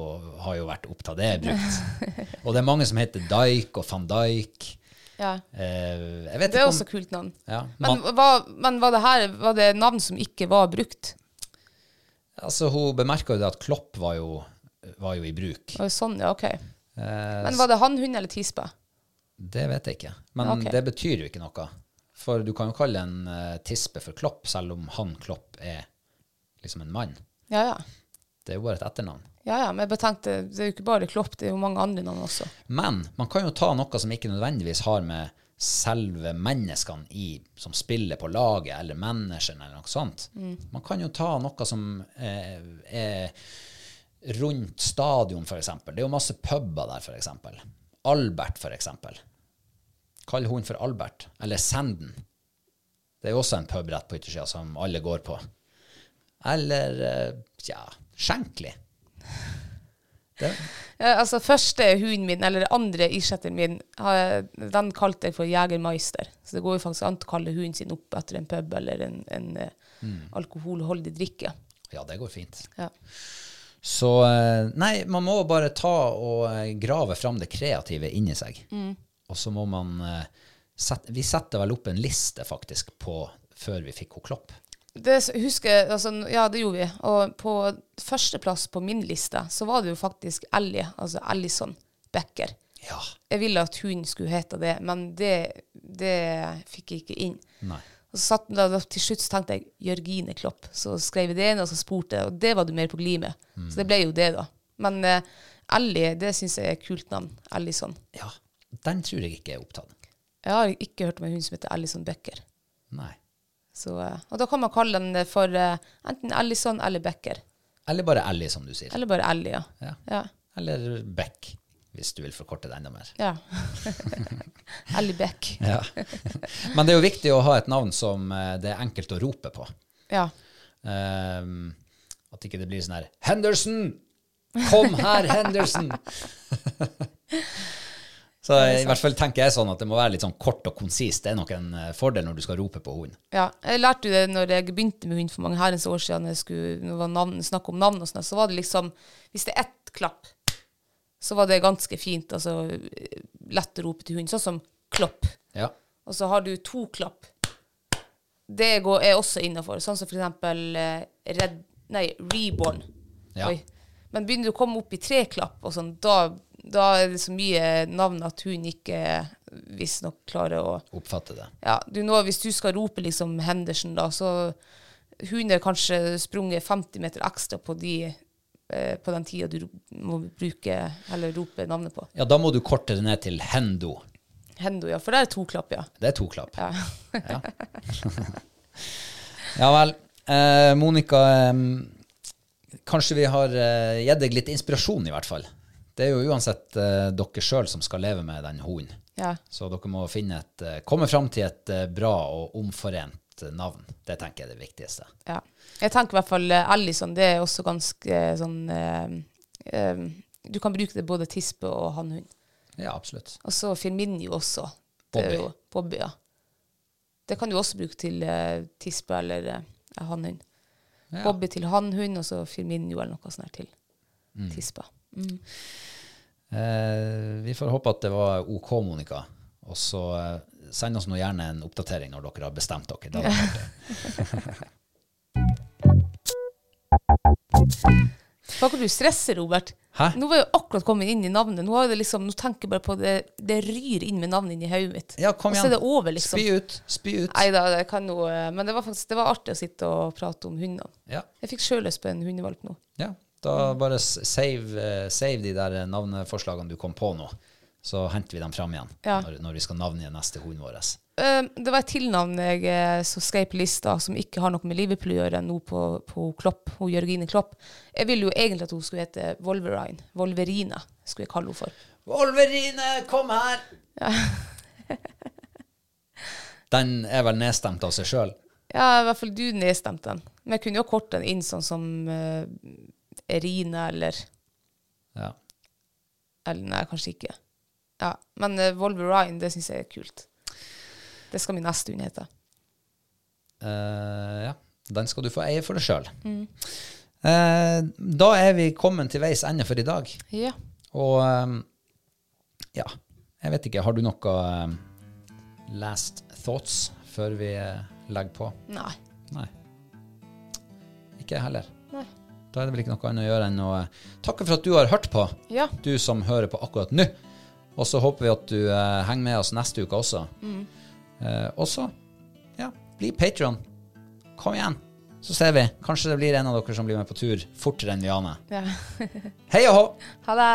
[SPEAKER 1] har jo vært opptatt, det er
[SPEAKER 2] (laughs)
[SPEAKER 1] brukt. Og det er mange som heter Dijk og van Dijk.
[SPEAKER 2] ja.
[SPEAKER 1] Eh, jeg vet
[SPEAKER 2] Det er
[SPEAKER 1] ikke om
[SPEAKER 2] også kult navn.
[SPEAKER 1] ja,
[SPEAKER 2] Men,
[SPEAKER 1] Ma-
[SPEAKER 2] hva- men var, det her, var det navn som ikke var brukt?
[SPEAKER 1] altså, Hun bemerka jo det at Klopp var jo, var jo i bruk.
[SPEAKER 2] Og sånn, ja, ok.
[SPEAKER 1] Eh,
[SPEAKER 2] Men var det han, hun eller tispe?
[SPEAKER 1] det vet jeg ikke. Men
[SPEAKER 2] Ok.
[SPEAKER 1] det betyr jo ikke noe. For du kan jo kalle en eh, tispe for Klopp, selv om han Klopp er liksom en mann.
[SPEAKER 2] Ja, ja.
[SPEAKER 1] Det er jo bare et etternavn.
[SPEAKER 2] Ja, ja, men jeg bare tenkte, det er jo ikke bare Klopp, det er jo mange andre navn også.
[SPEAKER 1] Men man kan jo ta noe som ikke nødvendigvis har med selve menneskene i, som spiller på laget, eller manageren, eller noe sånt. Man kan jo ta noe som eh, er rundt stadion, f.eks. Det er jo masse puber der, f.eks. Albert, f.eks. Kall hunden for Albert, eller Senden. Det er jo også en pub rett på yttersida som alle går på. Eller eh, tja, Skjenkli. Det,
[SPEAKER 2] Eh, altså, første hunden min, eller andre isjetteren min, har jeg, den kalte jeg for Jegermeister. Så det går jo faktisk an å kalle hunden sin opp etter en pub eller en, en eh, alkoholholdig drikke.
[SPEAKER 1] ja, det går fint.
[SPEAKER 2] Ja.
[SPEAKER 1] Så eh, nei, man må bare ta og eh, grave fram det kreative inni seg. Og så må man eh, sette, Vi setter vel opp en liste, faktisk, på før vi fikk henne Klopp.
[SPEAKER 2] Det s- husker jeg, altså, ja, det gjorde vi. Og på førsteplass på min liste, så var det jo faktisk Ellie, altså Ellison Becker.
[SPEAKER 1] Ja.
[SPEAKER 2] Jeg ville at hunden skulle hete det, men det, det fikk jeg ikke inn.
[SPEAKER 1] Nei.
[SPEAKER 2] Og så satt den da, da til slutt så tenkte jeg Jørgine Klopp. Så skrev jeg det inn, og så spurte jeg, og det var du mer på glid med. Så det ble jo det, da. Men eh, Ellie, det syns jeg er et kult navn. Ellison.
[SPEAKER 1] Ja. Den tror jeg ikke er opptatt.
[SPEAKER 2] Jeg har ikke hørt om en hund som heter Ellison Becker.
[SPEAKER 1] Nei.
[SPEAKER 2] Så, eh, og da kan man kalle den eh, for eh, enten Ellison eller Becker.
[SPEAKER 1] Eller bare Ellie, som du sier.
[SPEAKER 2] Eller bare Ellie, ja.
[SPEAKER 1] Ja.
[SPEAKER 2] ja.
[SPEAKER 1] Eller Beck, hvis du vil forkorte det enda mer.
[SPEAKER 2] ja. (laughs) Ellie Beck.
[SPEAKER 1] Ja. (laughs) Men det er jo viktig å ha et navn som eh, det er enkelt å rope på.
[SPEAKER 2] Ja.
[SPEAKER 1] Ehm, at ikke det blir sånn her Henderson! Kom her, Henderson! Så i hvert fall tenker jeg sånn at det må være litt sånn kort og konsist. Det er nok en eh, fordel når du skal rope på hund.
[SPEAKER 2] Ja, jeg lærte jo det når jeg begynte med hund for mange herrens år siden, når jeg skulle når det var navn, snakk om navn og sånn, så var det liksom, hvis det er ett klapp, så var det ganske fint, altså lett å rope til hund, sånn som klopp.
[SPEAKER 1] Ja.
[SPEAKER 2] Og så har du to klapp. Det går, er også innenfor, sånn som for eksempel eh, red, nei, reborn.
[SPEAKER 1] Ja.
[SPEAKER 2] Oi. Men begynner du å komme opp i tre klapp, og sånn, da, da er det så mye navn at hun ikke eh, visstnok klarer å
[SPEAKER 1] Oppfatte det.
[SPEAKER 2] ja, du nå, hvis du skal rope liksom Henderson, da, så hun er kanskje sprunget 50 meter ekstra på, de, eh, på den tida du ro- må bruke, eller rope navnet på.
[SPEAKER 1] Ja, da må du korte det ned til Hendo.
[SPEAKER 2] Hendo, ja. For der er to klapp, ja.
[SPEAKER 1] Det er to klapp.
[SPEAKER 2] ja. (laughs)
[SPEAKER 1] Ja, ja vel. Eh, Monica, eh, kanskje vi har eh, gitt deg litt inspirasjon, i hvert fall. Det er jo uansett eh, dere sjøl som skal leve med den hunden.
[SPEAKER 2] ja.
[SPEAKER 1] Så dere må finne et, eh, komme fram til et eh, bra og omforent eh, navn. Det tenker jeg er det viktigste.
[SPEAKER 2] Ja. Jeg tenker i hvert fall eh, Allison, det er også ganske eh, sånn eh, eh, Du kan bruke det både tispe og hannhund.
[SPEAKER 1] Ja, absolutt.
[SPEAKER 2] Og så Firminio også. Det er
[SPEAKER 1] Bobby.
[SPEAKER 2] jo- Bobby, ja. Det kan du også bruke til eh, tispe eller eh, hannhund.
[SPEAKER 1] Ja.
[SPEAKER 2] Bobby til hannhund, og så Firminio eller noe sånt her til tispa. Mm.
[SPEAKER 1] Eh, vi får håpe at det var OK, Monica. Og så eh, send oss nå gjerne en oppdatering når dere har bestemt dere. Da var
[SPEAKER 2] (laughs)
[SPEAKER 1] det.
[SPEAKER 2] Hva du stresser, Robert?
[SPEAKER 1] Hæ?
[SPEAKER 2] Nå var jeg jo akkurat kommet inn i navnet. Nå, har jeg det liksom, nå tenker jeg bare på det Det ryr inn med navnet inn i hodet mitt.
[SPEAKER 1] Ja, kom
[SPEAKER 2] Og
[SPEAKER 1] igjen.
[SPEAKER 2] så er det over, liksom.
[SPEAKER 1] Spy ut. Spy ut.
[SPEAKER 2] Nei da, det kan jo eh, Men det var faktisk det var artig å sitte og prate om hundene.
[SPEAKER 1] Ja.
[SPEAKER 2] Jeg fikk sjøl lyst på en hundevalp nå.
[SPEAKER 1] Ja, da bare s- save, eh, save de der eh, navneforslagene du kom på nå. Så henter vi dem fram igjen
[SPEAKER 2] Ja.
[SPEAKER 1] når, når vi skal navngi neste hund vår.
[SPEAKER 2] Eh, Det var et tilnavn jeg eh, som skrev på lista, som ikke har noe med Liverpool å gjøre nå på, på Klopp, hun Jørgine Klopp. Jeg ville jo egentlig at hun skulle hete Wolverine. Wolverina skulle jeg kalle henne for.
[SPEAKER 1] Wolverine, kom her! (laughs) Den er vel nedstemt av seg sjøl.
[SPEAKER 2] Ja, i hvert fall du nedstemte den. Men jeg kunne jo korte den inn sånn som eh, Erina eller
[SPEAKER 1] Ja.
[SPEAKER 2] Eller nei, kanskje ikke. Ja, Men eh, Wolverine, det syns jeg er kult. Det skal min neste hund hete.
[SPEAKER 1] Eh, ja. Den skal du få eie for deg sjøl. da er vi kommet til veis ende for i dag.
[SPEAKER 2] Ja.
[SPEAKER 1] Og eh, ja, jeg vet ikke. Har du noe eh, last thoughts før vi eh, legger på?
[SPEAKER 2] Nei.
[SPEAKER 1] Nei. Ikke jeg heller.
[SPEAKER 2] Nei.
[SPEAKER 1] Da er det vel ikke noe annet å gjøre enn å eh, takke for at du har hørt på,
[SPEAKER 2] Ja.
[SPEAKER 1] du som hører på akkurat nå. Og så håper vi at du eh, henger med oss neste uke også. Eh, og så, ja, bli Patron. Kom igjen, så ser vi. Kanskje det blir en av dere som blir med på tur fortere enn vi aner.
[SPEAKER 2] ja.
[SPEAKER 1] Hei og hå!
[SPEAKER 2] Ha det.